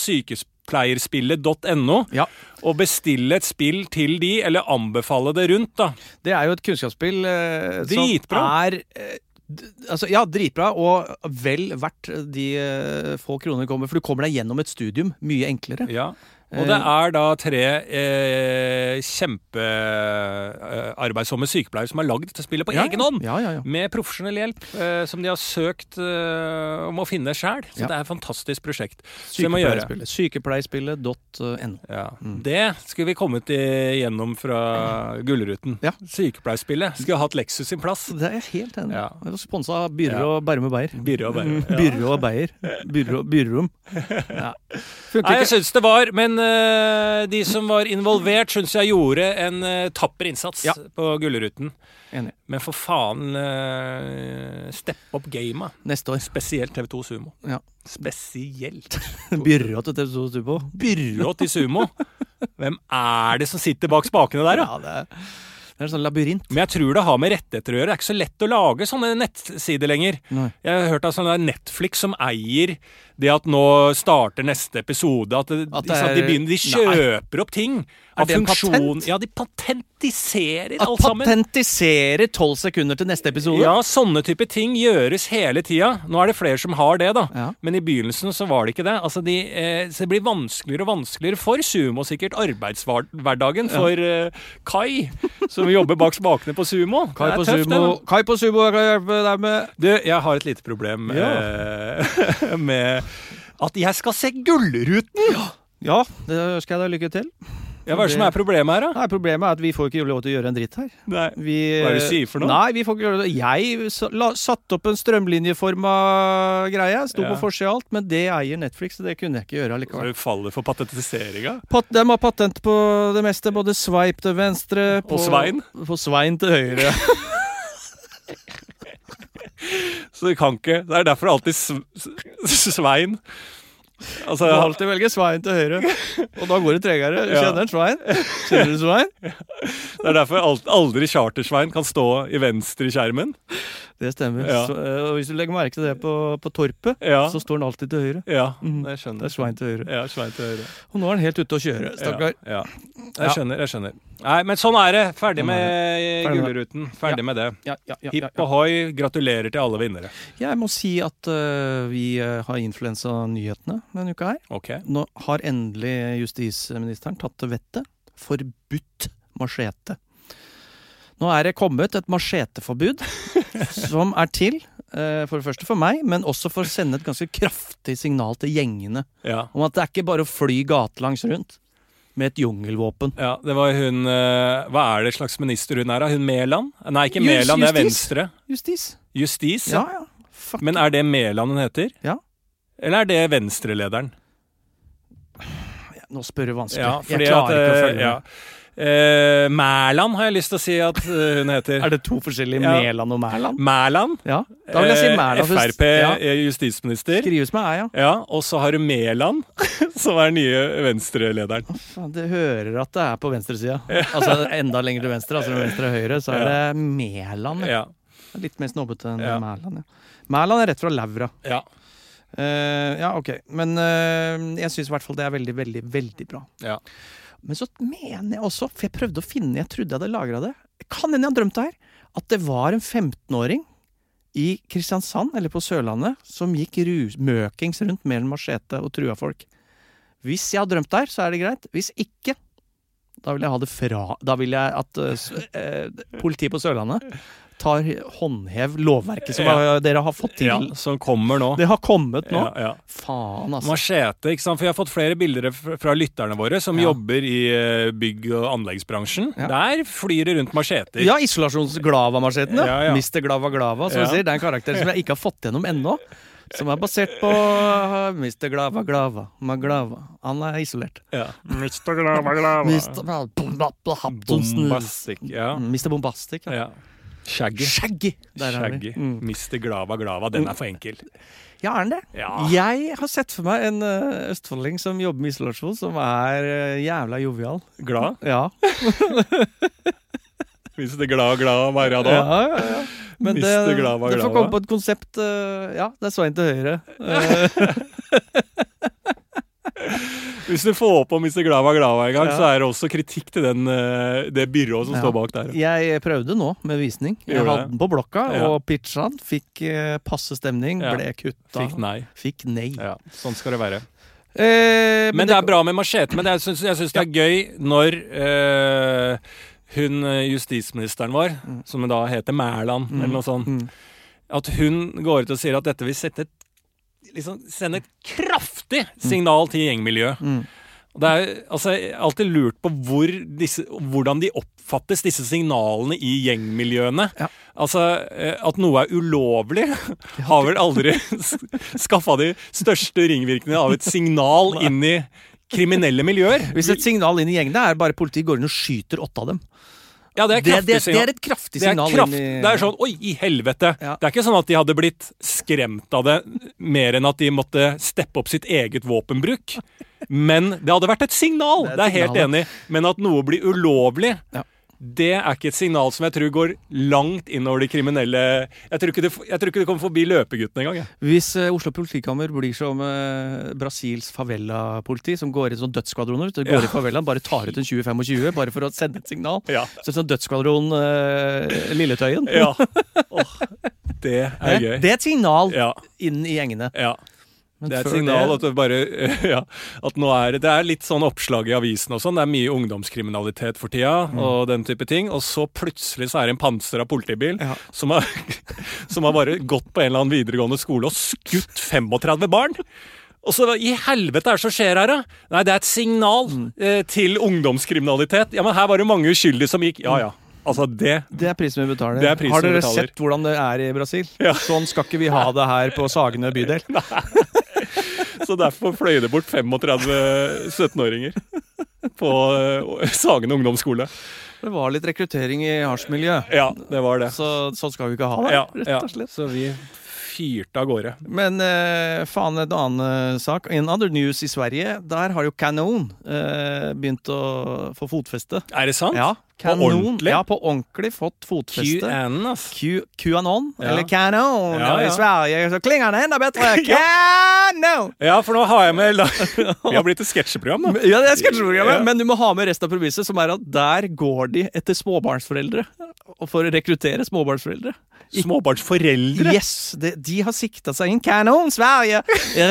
A: sykepleierspillet.no
B: ja.
A: og bestille et spill til de, eller anbefale det rundt, da.
B: Det er jo et kunnskapsspill eh,
A: Dritbra.
B: som er eh, d- Altså, ja, dritbra, og vel verdt de eh, få kronene det kommer. For du kommer deg gjennom et studium mye enklere.
A: Ja. Og det er da tre eh, kjempearbeidsomme eh, arbeidsomme sykepleiere som har lagd dette spillet på
B: Ja,
A: egen hånd.
B: Ja, ja, ja.
A: Med profesjonell hjelp, eh, som de har søkt eh, om å finne sjæl. Så
B: Ja.
A: det er et fantastisk prosjekt. Så det må gjøre.
B: Sykepleierspillet. Sykepleierspillet.no.
A: Ja.
B: Mm.
A: Det skulle vi kommet igjennom fra Gullruten.
B: Ja.
A: Sykepleierspillet. Skulle hatt Lexus sin plass.
B: Det er jeg helt enig i.
A: Ja.
B: Det var Sponsa av Byrå
A: Ja.
B: og Bærum og Beyer.
A: Byrå og
B: Mm.
A: Bærum, ja.
B: Byrå og Beyer. Byrå- Byrom. Ja.
A: Nei,
B: Funker
A: jeg
B: ikke.
A: syns det var, men eh, de som var involvert, syns jeg gjorde en eh, tapper innsats
B: Ja.
A: på Gullruten.
B: Enig.
A: Men for faen, uh, stepp opp gamet.
B: Neste år.
A: Spesielt TV2 Sumo.
B: Ja.
A: Spesielt
B: Byrå til TV 2 Stupo.
A: Byrå til Sumo. Hvem er det som sitter bak spakene der, da?
B: Ja, det er, det er en sånn labyrint.
A: Men jeg tror det har med rettigheter å gjøre. Det er ikke så lett å lage sånne nettsider lenger.
B: Nei.
A: Jeg har hørt av sånne der Netflix som eier det at nå starter neste episode. At, det,
B: At det
A: ikke sant, de,
B: er-
A: begynner, de kjøper opp ting.
B: Er det en patent?
A: Ja, de patentiserer
B: At
A: alt sammen.
B: patentisere tolv sekunder til neste episode.
A: Ja, sånne type ting gjøres hele tida. Nå er det flere som har det, da.
B: Ja.
A: Men i begynnelsen så var det ikke det. Altså, de, eh, så det blir vanskeligere og vanskeligere for Sumo, sikkert, arbeidshverdagen for eh, Kai, som som jobber bak spakene på Sumo.
B: Kai
A: Det er
B: på
A: tøft, det,
B: Sumo,
A: da.
B: Kai på Sumo jeg kan hjelpe deg med
A: Du, jeg har et lite problem eh, med at jeg skal se Gullruten!
B: Ja, det ønsker jeg deg lykke til.
A: Ja, hva er det som er problemet her, da?
B: Nei, Problemet er at vi får ikke lov til å gjøre en dritt her.
A: Nei.
B: Vi,
A: Hva er det du sier for noe?
B: Nei, vi får ikke gjøre det. Jeg sa- la, satte opp en strømlinjeforma greie. Sto
A: Ja.
B: på forsida alt, men det eier Netflix, så det kunne jeg ikke gjøre
A: Så
B: allikevel.
A: du faller for patetiseringa?
B: Pat, de har patent på det meste. Både sveip til venstre
A: Og svein.
B: På svein til høyre.
A: Så du kan ikke Det er derfor alltid sv s- Svein. Altså,
B: Du må
A: han-
B: alltid velge svein til høyre. Og da går det tregere. Du
A: Ja.
B: Kjenner en svein? Kjenner du svein?
A: det er derfor alt, aldri Charter-Svein kan stå i venstre i skjermen.
B: Det stemmer.
A: Ja.
B: Så, eh, og hvis du legger merke til det på, på Torpet,
A: Ja.
B: så står den alltid til høyre.
A: Ja,
B: Mm.
A: jeg skjønner.
B: Det er svein til høyre.
A: Ja, Svein til høyre.
B: Og nå er den helt ute å kjøre. Stakkar.
A: Ja, ja.
B: Ja.
A: Jeg skjønner, jeg skjønner. Nei, men sånn er det. Ferdig
B: Sånn
A: med
B: Ferdig med
A: Gullruten. Ferdig med det.
B: Ja, ja, ja, ja,
A: Hipp
B: ja.
A: ohoi, gratulerer til alle vinnere.
B: Jeg må si at øh, vi øh, har influensa nyhetene denne uka her.
A: Ok.
B: Nå har endelig justisministeren tatt til vettet. Forbudt machete. Nå er det kommet et macheteforbud som er til, øh, for det første for meg, men også for å sende et ganske kraftig signal til gjengene
A: Ja.
B: om at det er ikke bare å fly gatelangs rundt med et jungelvåpen.
A: Ja, det var hun eh, Hva er det slags minister hun er, da? Hun Mæland? Nei, ikke
B: Jus-
A: Mæland, det er
B: justis.
A: Venstre.
B: Justis.
A: Justis.
B: Ja, ja. Fuck.
A: Men er det Mæland hun heter?
B: Ja.
A: Eller er det Venstre-lederen?
B: Nå spør du vanskelig.
A: Ja, fordi
B: jeg klarer
A: at,
B: ikke å
A: eh,
B: følge med.
A: ja. Eh, Mæland har jeg lyst til å si at eh, hun heter.
B: Er det to forskjellige
A: Ja.
B: Mæland og Mæland?
A: Mæland.
B: Ja, da vil jeg si
A: eh,
B: Mæland. for-
A: Frp
B: Ja,
A: eh, justisminister.
B: skrives med æ, ja.
A: Ja, og så har du Mæland, som er den nye Venstre-lederen.
B: Faen, Det hører at det er på venstresida. Altså enda lenger til venstre, altså venstre og høyre, så er det Mæland. Ja.
A: Ja.
B: Litt mer snobbete enn
A: Ja.
B: Mæland, ja. Mæland er rett fra Laura.
A: ja.
B: Eh, ja, ok. Men eh, jeg syns i hvert fall det er veldig, veldig, veldig bra.
A: Ja.
B: Men så mener jeg også, for jeg prøvde å finne Jeg trodde jeg hadde lagra det. Kan hende jeg har drømt det her. At det var en 15-åring i Kristiansand, eller på Sørlandet, som gikk rus møkings rundt med en machete og trua folk. Hvis jeg har drømt det her, så er det greit. Hvis ikke, da vil jeg ha det fra Da vil jeg at eh, s- eh, politiet på Sørlandet tar håndhev lovverket som
A: Ja.
B: eh, dere har fått til.
A: ja som kommer nå.
B: Det har kommet nå.
A: Ja, ja.
B: Faen, altså.
A: Machete, ikke sant? For jeg har fått flere bilder fra fra lytterne våre som
B: Ja.
A: jobber i eh, bygg- og anleggsbransjen.
B: Ja.
A: Der flyr det rundt macheter.
B: Ja, isolasjonsglava-marsjetten. Ja.
A: Ja, ja.
B: Mr. Glava Glava, som
A: Ja.
B: vi sier. Det er en karakter som jeg ikke har fått gjennom ennå. Som er basert på uh, Mr. Glava Glava Maglava. Han er isolert.
A: Ja.
B: Mr. Bombastic.
A: Bombastic. Ja.
B: Mr. Bombastic. Ja.
A: ja. Shaggy.
B: Mm. Shaggy! Der er vi.
A: Shaggy.
B: Mm.
A: Mister Glava Glava. Den er for enkel.
B: Ja, er han det?
A: Ja.
B: Jeg har sett for meg en uh, østfolding som jobber med isolasjon, som er uh, jævla jovial.
A: Glad?
B: Ja.
A: Mister Glad Glad Maria da.
B: Ja, ja, ja. Men det,
A: Mister Glava
B: det får
A: Glava.
B: komme på et konsept. eh, ja, det er Svein til høyre. Eh,
A: Hvis du får på Mister Glava Glava en gang,
B: Ja.
A: så er det også kritikk til den, eh, det byrået som
B: Ja.
A: står bak der.
B: Jeg prøvde nå med visning. Jeg
A: Gjorde
B: hadde
A: det?
B: den på blokka
A: Ja.
B: og pitcha den. Fikk eh, passe stemning,
A: Ja.
B: ble kutta.
A: Fikk nei.
B: Fikk nei.
A: Ja, sånn skal det være.
B: Eh,
A: Men det er bra med machete. Men det er, syns- jeg syns det er gøy når eh, hun eh, justisministeren vår, som da heter Mæland, eller noe sånt,
B: Mm.
A: at hun går ut og sier at dette vil sette et, liksom, sende et kraftig signal til gjengmiljøet.
B: Mm.
A: Og Det er altså, jeg har alltid lurt på hvor disse, hvordan de oppfattes, disse signalene i gjengmiljøene.
B: Ja.
A: Altså, eh, At noe er ulovlig, har vel aldri skaffa de største ringvirkningene av et signal inn i kriminelle miljøer.
B: Hvis et signal inn i gjengen det er bare politiet går inn og skyter åtte av dem.
A: Ja, det er
B: Det, det,
A: kraftig
B: det er
A: signal.
B: et kraftig
A: Det er,
B: signal.
A: kraft,
B: inn i-
A: det er sånn Oi, i helvete!
B: Ja.
A: Det er ikke sånn at de hadde blitt skremt av det mer enn at de måtte steppe opp sitt eget våpenbruk. Men det hadde vært et signal!
B: Det er et
A: Det er jeg helt
B: signal,
A: enig i. Men at noe blir ulovlig,
B: Ja.
A: det er ikke et signal som jeg tror går langt innover de kriminelle Jeg tror ikke det, jeg tror ikke det kommer forbi løpeguttene engang. jeg.
B: Hvis eh, Oslo politikammer blir som eh, Brasils favela-politi, som går inn som dødsskvadroner, så går i favelaen, bare tar ut en 20-25, bare for å sende et signal.
A: Ja.
B: Så sånn dødsskvadron eh, Lilletøyen.
A: ja. Åh, det er
B: Eh,
A: gøy.
B: det er et signal
A: Ja.
B: inn i gjengene.
A: ja.
B: Men
A: Det er et
B: før
A: signal
B: det-
A: at, det bare, ja, at nå er det, det er litt sånn oppslag i avisen og sånn. Det er mye ungdomskriminalitet for tida
B: Mm.
A: og den type ting. Og så plutselig så er det en pansra politibil
B: Ja.
A: som, har, som har bare gått på en eller annen videregående skole og skutt 35 barn. Og så hva i helvete er det som skjer her, da? Nei, det er et signal
B: Mm.
A: eh, til ungdomskriminalitet. Ja, men her var det mange uskyldige som gikk Ja ja. Altså, det
B: Det er prisen vi betaler.
A: Det er prisen
B: Har dere
A: vi betaler.
B: sett hvordan det er i Brasil? Sånn skal ikke vi ha det her på Sagene bydel.
A: Så derfor fløy det bort 35 17-åringer på eh, Sagen ungdomsskole.
B: Det var litt rekruttering i hasjmiljøet.
A: Ja, det var det.
B: Så sånn skal vi ikke ha det,
A: Ja,
B: rett
A: ja.
B: og slett.
A: Så vi fyrte av gårde.
B: Men eh, faen, en annen eh, sak. In other news i Sverige, der har jo Canon eh, begynt å få fotfeste.
A: Er det sant?
B: Ja,
A: ordentlig?
B: Ja, på ordentlig fått fotfeste.
A: QN, ass.
B: Q- QAnon,
A: Ja.
B: eller Canon,
A: Ja,
B: og
A: ja.
B: i Sverige så klinger det enda bedre. Canon!
A: Ja, for nå har jeg med Vi har blitt et sketsjeprogram, da.
B: Ja, det er sketsjeprogrammet,
A: Ja.
B: men du må ha med resten av premisset, som er at der går de etter småbarnsforeldre. Og for å rekruttere småbarnsforeldre.
A: Småbarnsforeldre.
B: Yes, de, de har sikta seg inn. Kanon, Sverige!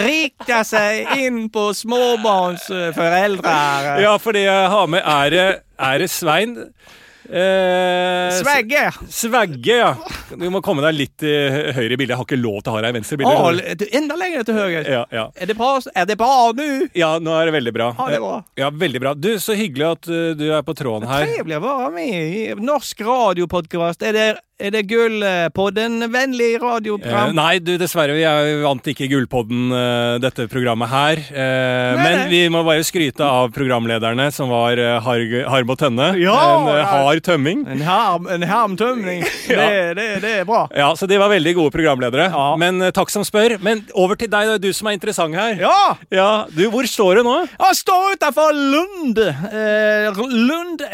B: Rikta seg inn på småbarnsforeldre.
A: Ja, for det jeg har med, er det, er det Svein eh,
B: Svegge!
A: Svegge, ja. Du må komme deg litt i høyre bilde. Jeg har ikke lov til å ha deg i venstre bilde.
B: Å, du- enda lenger til høyre.
A: ja, ja.
B: Er det bra, er det bra nå?
A: ja, nå er det veldig bra.
B: Ja, det er bra.
A: Ja, veldig bra. Du, så hyggelig at eh, du er på tråden her.
B: Trivelig å være med i norsk radiopodkast. Er det, er det gull eh, på den vennlige
A: Eh,
B: radioprogram?
A: nei, du, dessverre. Vi er- vant ikke Gullpodden, eh, dette programmet her. Eh,
B: Nei,
A: men
B: nei.
A: vi må bare skryte av programlederne, som var eh, Harg Harm og Tønne.
B: Ja,
A: en eh,
B: ja.
A: hard tømming.
B: En, harm, en harmtømning.
A: Ja.
B: Det, det, det er bra.
A: Ja, Så de var veldig gode programledere.
B: Ja.
A: Men eh, takk som spør. Men over til deg, da, du som er interessant her.
B: Ja!
A: Ja, du, Hvor står du nå?
B: Jeg står utenfor Lund. Eh, Lund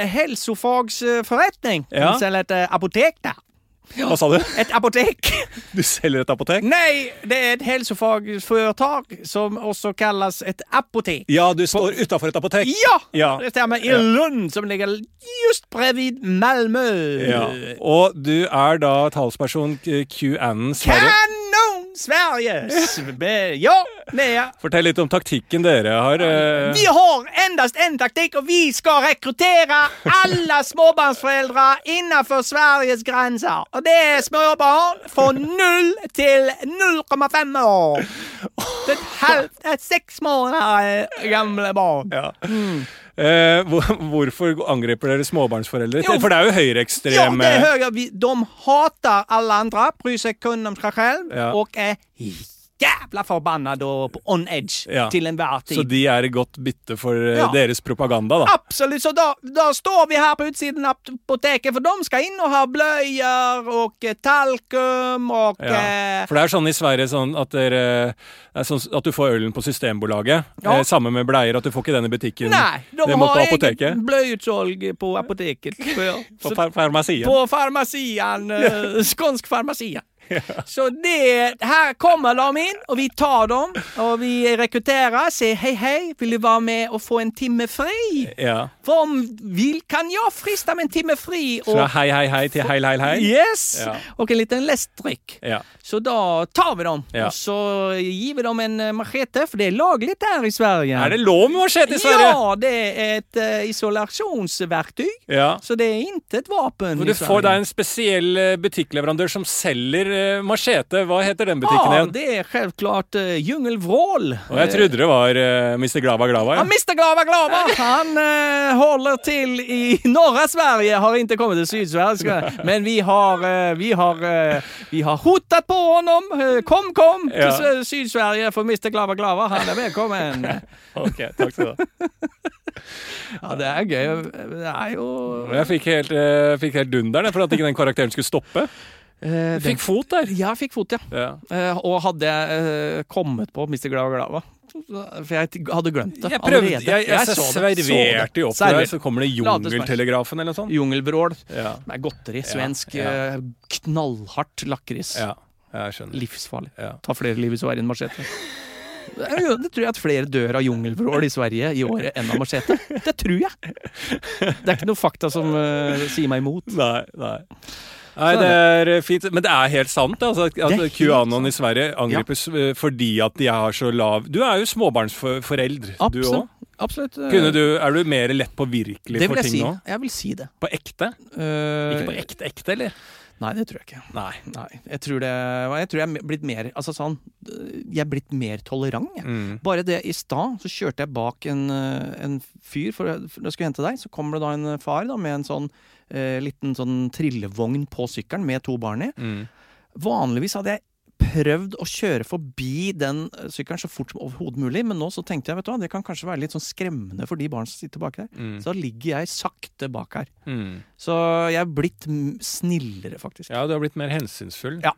B: helsefagsforretning.
A: Ja.
B: De selger et eh, apotek der.
A: Hva sa du?
B: Et apotek!
A: Du selger et apotek?
B: Nei, det er et helsefagsforetak som også kalles et apotek.
A: Ja, du står utafor et apotek.
B: Ja!
A: Ja.
B: Det stemmer. I
A: Ja.
B: Lund, som ligger just bredvid Malmö.
A: Ja. Og du er da talsperson eh, QAnon Sverige.
B: Kanon Sverige! Sve- Ja, det er
A: Fortell litt om taktikken dere har. eh,
B: Vi har endast en taktikk, og vi skal rekruttere alle småbarnsforeldre innenfor Sveriges grenser. Og det er småbarn fra 0 til 0,5 år. Det er et halvt, det er seks måneder gamle barn.
A: Ja.
B: Mm.
A: Eh, hvor- hvorfor angriper dere småbarnsforeldre?
B: Jo.
A: For det er jo
B: Ja,
A: høyreekstreme
B: det hører vi. De hater alle andre, bryr seg kun om seg selv,
A: Ja.
B: og er jævla forbanna da på on edge
A: Ja.
B: til enhver tid.
A: Så de er et godt bytte for eh,
B: Ja.
A: deres propaganda, da.
B: Absolutt. Så da, da står vi her på utsiden av apoteket, for de skal inn og ha bløyer og eh, talkum og
A: Ja.
B: eh,
A: For det er sånn i Sverige sånn at, dere, det er sånn at du får ølen på Systembolaget.
B: Ja.
A: Eh, Samme med bleier, at du får ikke den i butikken.
B: Nei, de
A: det må
B: har
A: på
B: eget
A: apoteket.
B: bløyutsalg på apoteket. før.
A: På
B: Så
A: far farmasien.
B: På farmasien. eh, Skånsk farmasien. Så det, her kommer de inn, og vi tar dem. Og vi rekrutterer. Sier hei, hei, vil du være med og få en time fri?
A: Ja.
B: For om vil, kan jeg friste med en time fri. Og,
A: Fra hei, hei, hei til heil, heil, hei.
B: yes,
A: Ja.
B: og en liten lestdrikk.
A: Ja.
B: Så da tar vi dem,
A: Ja.
B: og så gir vi dem en eh, machete, for det er laglig der i Sverige.
A: Er det lov med machete i Sverige?
B: Ja, det er et eh, isolasjonsverktøy,
A: Ja.
B: så det er ikke et våpen.
A: For du
B: Sånn i Sverige.
A: får deg en spesiell eh, butikkleverandør som selger eh, machete. Hva heter den butikken
B: Ja,
A: igjen?
B: det er selvklart uh, Djungelvrål.
A: Og jeg trodde det var eh, Mr. Glava Glava.
B: Han
A: Ja.
B: mister Glava Glava! Han eh, holder til i norra Sverige, har inte kommit till Sydsverige. Men vi har, eh, vi har, eh, vi har hotat på honom. Eh, Kom, kom
A: Ja.
B: till Syd- Sydsverige för Mr Glava Glava. Han är välkommen.
A: Ok, takk skal du ha.
B: Ja, det er gøy. Det er jo
A: Men Jeg fikk helt, eh, fikk helt dunderen jeg, for at ikke den karakteren skulle stoppe.
B: eh,
A: Fikk fot der.
B: Ja, jeg fikk fot, ja.
A: Ja.
B: Eh, og hadde jeg eh, kommet på Mr. Glava Glava For jeg t- hadde glemt det
A: Jeg prøvde,
B: allerede.
A: jeg, jeg,
B: så det, så det.
A: serverte jo opp til deg,
B: Servert.
A: så kommer det
B: Late som.
A: Jungeltelegrafen eller noe sånt.
B: Jungelvrål.
A: Ja,
B: Det er godteri. Svensk.
A: ja.
B: eh, knallhardt lakris.
A: ja, jeg skjønner.
B: Livsfarlig.
A: Ja.
B: Ta flere liv i Sverige enn machete. Det er jo- det tror jeg at flere dør av jungelvrål i Sverige i året enn av machete. Det tror jeg! Det er ikke noe fakta som eh, sier meg imot.
A: Nei, nei. Nei,
B: Så
A: det
B: er
A: er eh, fint. Men det er helt sant det, altså,
B: Sånn, er
A: at
B: helt
A: QAnon i Sverige angripes eh, fordi at de har så lav Du er jo småbarnsforelder, du òg.
B: Absolutt. absolutt eh,
A: Kunne du, er du mer lett påvirkelig
B: det vil
A: for
B: jeg
A: ting
B: si.
A: nå?
B: Jeg vil si det.
A: På ekte?
B: Eh,
A: Ikke på ekte ekte, eller?
B: Nei, det tror jeg ikke.
A: Nei.
B: Nei, jeg tror, det, jeg tror jeg er blitt mer Altså sånn Jeg er blitt mer tolerant, jeg.
A: Mm.
B: Bare det i stad, så kjørte jeg bak en, eh, en fyr for jeg, for jeg skulle hente deg. Så kommer det da en far da med en sånn eh, liten sånn trillevogn på sykkelen med to barn i.
A: Mm.
B: Vanligvis hadde jeg prøvd å kjøre forbi den eh, sykkelen så fort som overhodet mulig, men nå så tenkte jeg vet du hva, det kan kanskje være litt sånn skremmende for de barna som sitter baki der.
A: Mm.
B: Så da ligger jeg sakte bak her.
A: Mm.
B: Så jeg er blitt m- snillere, faktisk.
A: Ja, du har blitt mer hensynsfull.
B: Ja.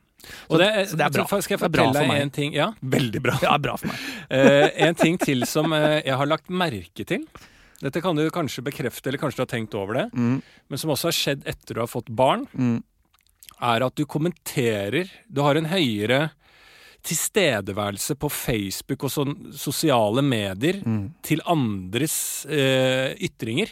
A: Og
B: Så-
A: det,
B: så det er bra.
A: så Skal jeg
B: Det er bra
A: fortelle
B: for
A: deg
B: meg.
A: en ting? Ja, veldig bra.
B: Det er bra for meg.
A: Eh, en ting til som eh, jeg har lagt merke til. Dette kan du kanskje bekrefte, eller kanskje du har tenkt over det.
B: Mm,
A: Men som også har skjedd etter du har fått barn,
B: mm.
A: er at du kommenterer Du har en høyere tilstedeværelse på Facebook og sånn sosiale medier
B: Mm.
A: til andres eh, ytringer.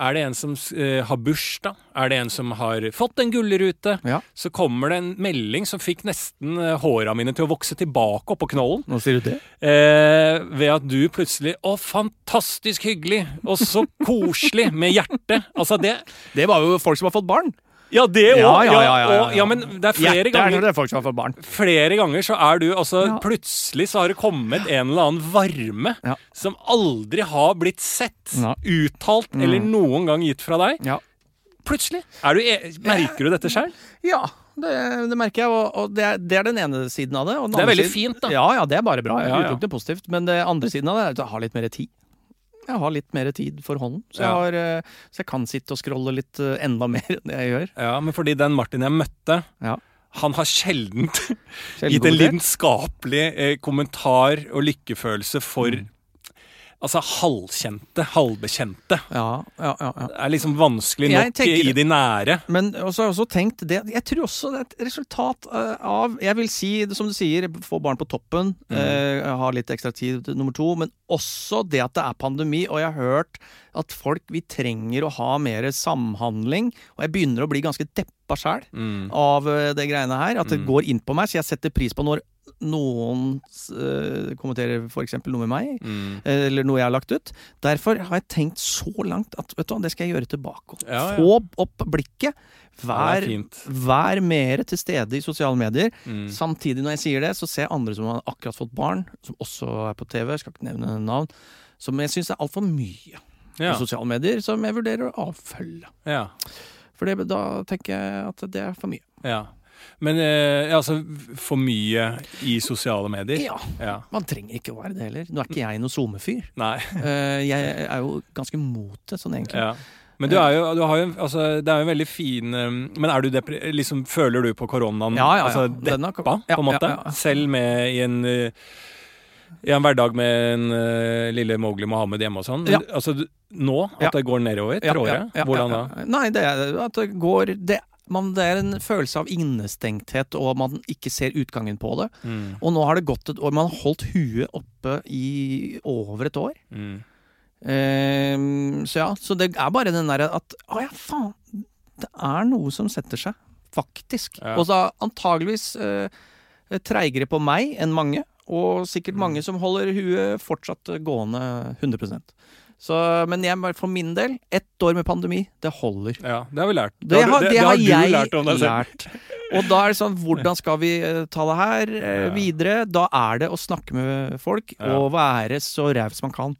A: Er det en som eh, har bursdag? Er det en som har fått en gullrute?
B: Ja.
A: Så kommer det en melding som fikk nesten eh, håra mine til å vokse tilbake oppå knollen.
B: Nå sier du det?
A: Eh, ved at du plutselig Å, fantastisk hyggelig! Og så koselig! Med hjerte! Altså, det
B: Det var jo folk som har fått barn.
A: Ja, det òg!
B: Ja, ja, ja, ja, ja.
A: og- ja, men det er flere
B: Hjertet er
A: ganger
B: når det er folk som har fått barn.
A: flere ganger så er du altså
B: Ja.
A: Plutselig så har det kommet en eller annen varme
B: Ja.
A: som aldri har blitt sett,
B: Nei.
A: uttalt eller noen gang gitt fra deg.
B: Mm. Ja.
A: Plutselig! Er du e merker du dette sjøl?
B: Ja, det, det merker jeg, og, og det, er, det er den ene siden av det. Og
A: Det
B: den
A: er
B: andre
A: veldig
B: siden-
A: fint, da.
B: Ja, ja, det er bare bra. Jeg
A: Ja, ja.
B: utelukker det positivt. Men det andre siden av det er at jeg har litt mer tid. Jeg har litt mer tid for hånden,
A: Ja.
B: så, jeg, har, eh, så jeg kan sitte og scrolle litt eh, enda mer enn jeg gjør.
A: Ja, men fordi den Martin jeg møtte,
B: Ja.
A: han har sjelden gitt en
B: Sjelden kommentert.
A: lidenskapelig eh, kommentar og lykkefølelse for
B: Mm.
A: Altså halvkjente, halvbekjente.
B: Ja, ja, ja, ja.
A: Det er liksom vanskelig
B: Jeg
A: nok
B: tenker-
A: i de nære.
B: Men også, har jeg også tenkt det, jeg tror også det er et resultat eh, av Jeg vil si, som du sier, få barn på toppen, eh, ha litt ekstra tid til nummer to, men også det at det er pandemi, og jeg har hørt at folk Vi trenger å ha mer samhandling, og jeg begynner å bli ganske deppa sjæl
A: Mm.
B: av eh, det greiene her. At det går inn på meg, så jeg setter pris på når noen eh, kommenterer f.eks. noe med meg.
A: Mm.
B: Eller noe jeg har lagt ut. Derfor har jeg tenkt så langt at vet du, hva, det skal jeg gjøre tilbake.
A: Ja, ja.
B: Få opp
A: Ja,
B: blikket.
A: det
B: Vær,
A: er fint.
B: vær mer til stede i sosiale medier.
A: Mm.
B: Samtidig når jeg sier det, så ser jeg andre som har akkurat fått barn, som også er på TV, skal ikke nevne navn, som jeg syns er altfor mye
A: Ja,
B: på sosiale medier, som jeg vurderer å avfølge.
A: ja,
B: For det, da tenker jeg at det er for mye.
A: ja. Men eh, altså, for mye i sosiale medier?
B: Ja,
A: ja.
B: man trenger ikke å være det heller. Nå er ikke jeg noen SoMe-fyr.
A: Nei.
B: Eh, Jeg er jo ganske mot det, sånn egentlig.
A: Ja. Men du
B: Eh.
A: er jo, du har jo altså, Det er jo en veldig fin eh, Men er du depri... Liksom, føler du på koronaen?
B: Ja, ja, ja.
A: Altså
B: Den
A: deppa,
B: har kom-
A: på
B: ja,
A: en måte?
B: ja, ja, ja.
A: Selv med i en eh, i en hverdag med en eh, lille Mowgli Mohammed hjemme og sånn. Men
B: Ja.
A: Altså, du- nå, at
B: Ja.
A: det går nedover
B: Ja,
A: etter
B: ja,
A: året,
B: ja,
A: hvordan da?
B: ja, ja. Nei, det er at det går det, man, det er en følelse av innestengthet, og man ikke ser utgangen på det.
A: Mm,
B: Og nå har det gått et år. Man har holdt huet oppe i over et år.
A: mm.
B: Ehm, så ja, så det er bare den derre at Å ja, faen. Det er noe som setter seg, faktisk.
A: Ja.
B: Og så antageligvis eh, treigere på meg enn mange. Og sikkert
A: Mm.
B: mange som holder huet fortsatt gående 100 så, Men jeg, bare for min del, ett år med pandemi, det holder.
A: Ja, det har vi lært.
B: Det har,
A: du-
B: det har jeg
A: du lært om deg selv.
B: lært. Og da er det sånn, hvordan skal vi eh, ta det her eh,
A: Ja.
B: videre? Da er det å snakke med folk
A: Ja.
B: og være så raus man kan.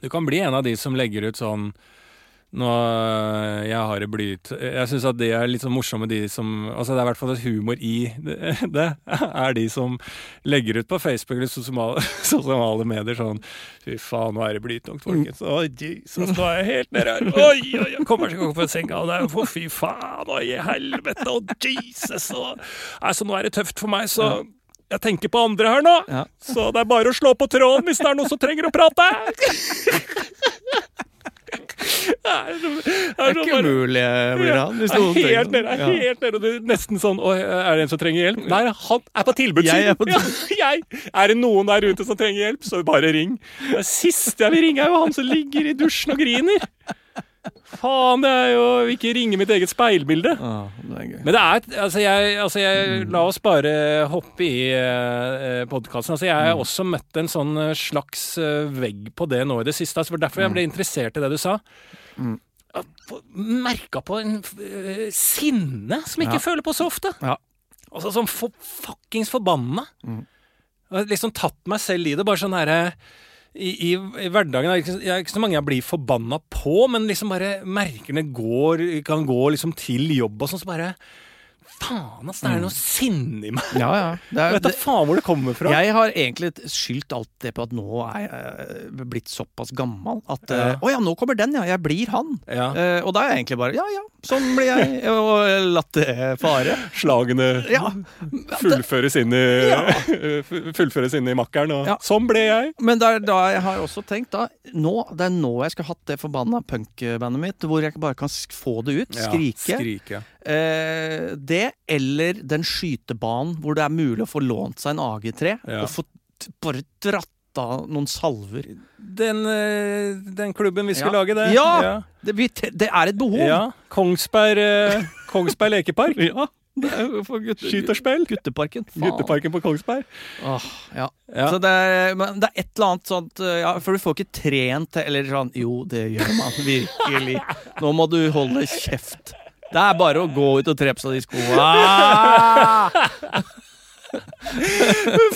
A: Du kan bli en av de som legger ut sånn nå, øh, jeg har det blyt Jeg syns at det er litt sånn morsomme, de som Altså, det er i hvert fall et humor i det, det. Er de som legger ut på Facebook eller sosiale, sosiale medier sånn Fy faen, nå er det blytungt, folkens. Å, Jesus, nå er jeg helt nede her. Oi, oi, jeg kommer ikke opp fra senga. Og det er jo for fy faen, og i helvete, og Jesus, og Altså, nå er det tøft for meg, så jeg tenker på andre her nå.
B: Ja.
A: Så det er bare å slå på tråden hvis det er noen som trenger å prate. Det er så- det er eh, så bare-
B: umulig, Brian.
A: Det er helt nede, det er helt nede. og Det er nesten sånn Oi, er det en som trenger hjelp? Nei, han er på tilbudssiden.
B: Jeg er på
A: ja, jeg. Er det noen der ute som trenger hjelp, så bare ring. Det siste jeg vil ringe, er jo han som ligger i dusjen og griner. Faen, det er jo ikke ringe mitt eget speilbilde.
B: Ah, det er gøy.
A: Men det er Altså, jeg, altså jeg,
B: Mm.
A: la oss bare hoppe i uh, podkasten. Altså, jeg
B: Mm.
A: har også møtt en sånn eh, slags eh, vegg på det nå i det siste. Altså, det var derfor jeg ble interessert i det du sa.
B: Mm.
A: Merka på en eh, sinne som jeg ikke
B: Ja.
A: føler på så ofte.
B: Ja.
A: Altså sånn for, fuckings forbanna.
B: Mm.
A: Jeg har liksom tatt meg selv i det. Bare sånn herre i, i, I hverdagen er det ikke, det er ikke så mange jeg blir forbanna på, men liksom bare merkene går, kan gå liksom til jobb og sånn, så bare Faen, ass, det er noe sinne i meg.
B: ja, ja.
A: Mm. Jeg
B: Det er,
A: vet da
B: det,
A: faen hvor det kommer fra.
B: jeg har egentlig skyldt alt det på at nå er jeg eh, blitt såpass gammel at eh, Å
A: Ja.
B: ja. nå kommer den, ja. Jeg blir han.
A: Ja.
B: Eh, og da er jeg egentlig bare ja ja, sånn blir jeg, og latt det fare.
A: Slagene
B: Ja.
A: fullføres inn i Fullføres inn i makkeren, og
B: Ja.
A: sånn ble jeg.
B: Men det er da jeg har også tenkt da nå, Det er nå jeg skal hatt det forbanna punkbandet mitt, hvor jeg bare kan sk- få det ut. Skrike.
A: skrike.
B: Eh, det eller den skytebanen hvor det er mulig å få lånt seg en AG3
A: Ja.
B: og få t bare dratt av noen salver.
A: Den, eh, den klubben vi skulle
B: Ja.
A: lage, det.
B: Ja! Det, vi, te- det er et behov!
A: ja. Kongsberg, eh, Kongsberg lekepark.
B: Ja, det er jo for gutter,
A: Skyt og spill.
B: Gutteparken. Faen.
A: Gutteparken på Kongsberg.
B: Åh, ja.
A: Ja.
B: Så det er, men det er et eller annet sånt eh, ja, For du får ikke trent det, eller sånn Jo, det gjør man virkelig. Nå må du holde kjeft. Det er bare å gå ut og tre på seg de skoa.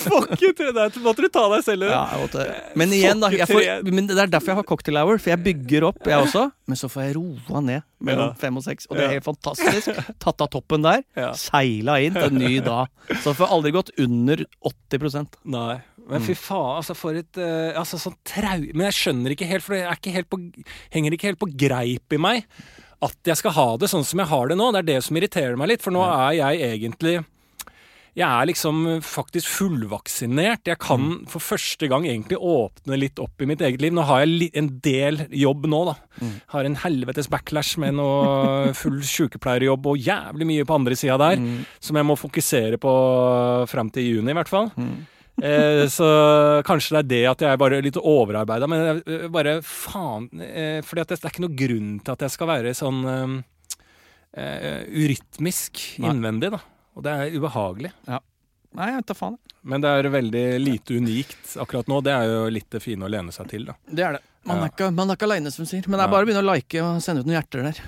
A: Fuck you, tre der måtte du ta deg selv i det.
B: Ja, jeg måtte. Men igjen, da. Jeg får,
A: Fuck,
B: men det er derfor jeg har cocktail hour, for jeg bygger opp, jeg også. Men så får jeg roa ned mellom
A: Ja.
B: fem og seks, og det
A: Ja.
B: er helt fantastisk. Tatt av toppen der,
A: Ja.
B: seila inn til en ny dag. Så får jeg aldri gått under 80
A: Nei. Men fy faen, altså for et eh, altså sånn trau... Men jeg skjønner ikke helt, for det er ikke helt på, henger ikke helt på greip i meg at jeg skal ha det sånn som jeg har det nå. Det er det som irriterer meg litt, for nå er jeg egentlig jeg er liksom faktisk fullvaksinert. Jeg kan for første gang egentlig åpne litt opp i mitt eget liv. Nå har jeg li en del jobb nå, da. Har en helvetes backlash med noe full sykepleierjobb og jævlig mye på andre sida der,
B: Mm.
A: som jeg må fokusere på fram til juni, i hvert fall.
B: Mm.
A: Eh, så kanskje det er det at jeg er bare litt overarbeida, men jeg, eh, bare faen eh, Fordi at det, det er ikke noe grunn til at jeg skal være sånn eh, eh, urytmisk
B: Nei.
A: innvendig, da. Og det er ubehagelig.
B: Nei, jeg vet da faen.
A: Men det er veldig lite unikt akkurat nå. Det er jo litt det fine å lene seg til, da.
B: Det er det. Man
A: Ja.
B: er ikke, man er ikke aleine, som du sier. Men det
A: Nei.
B: er bare å begynne å like og sende ut noen hjerter der.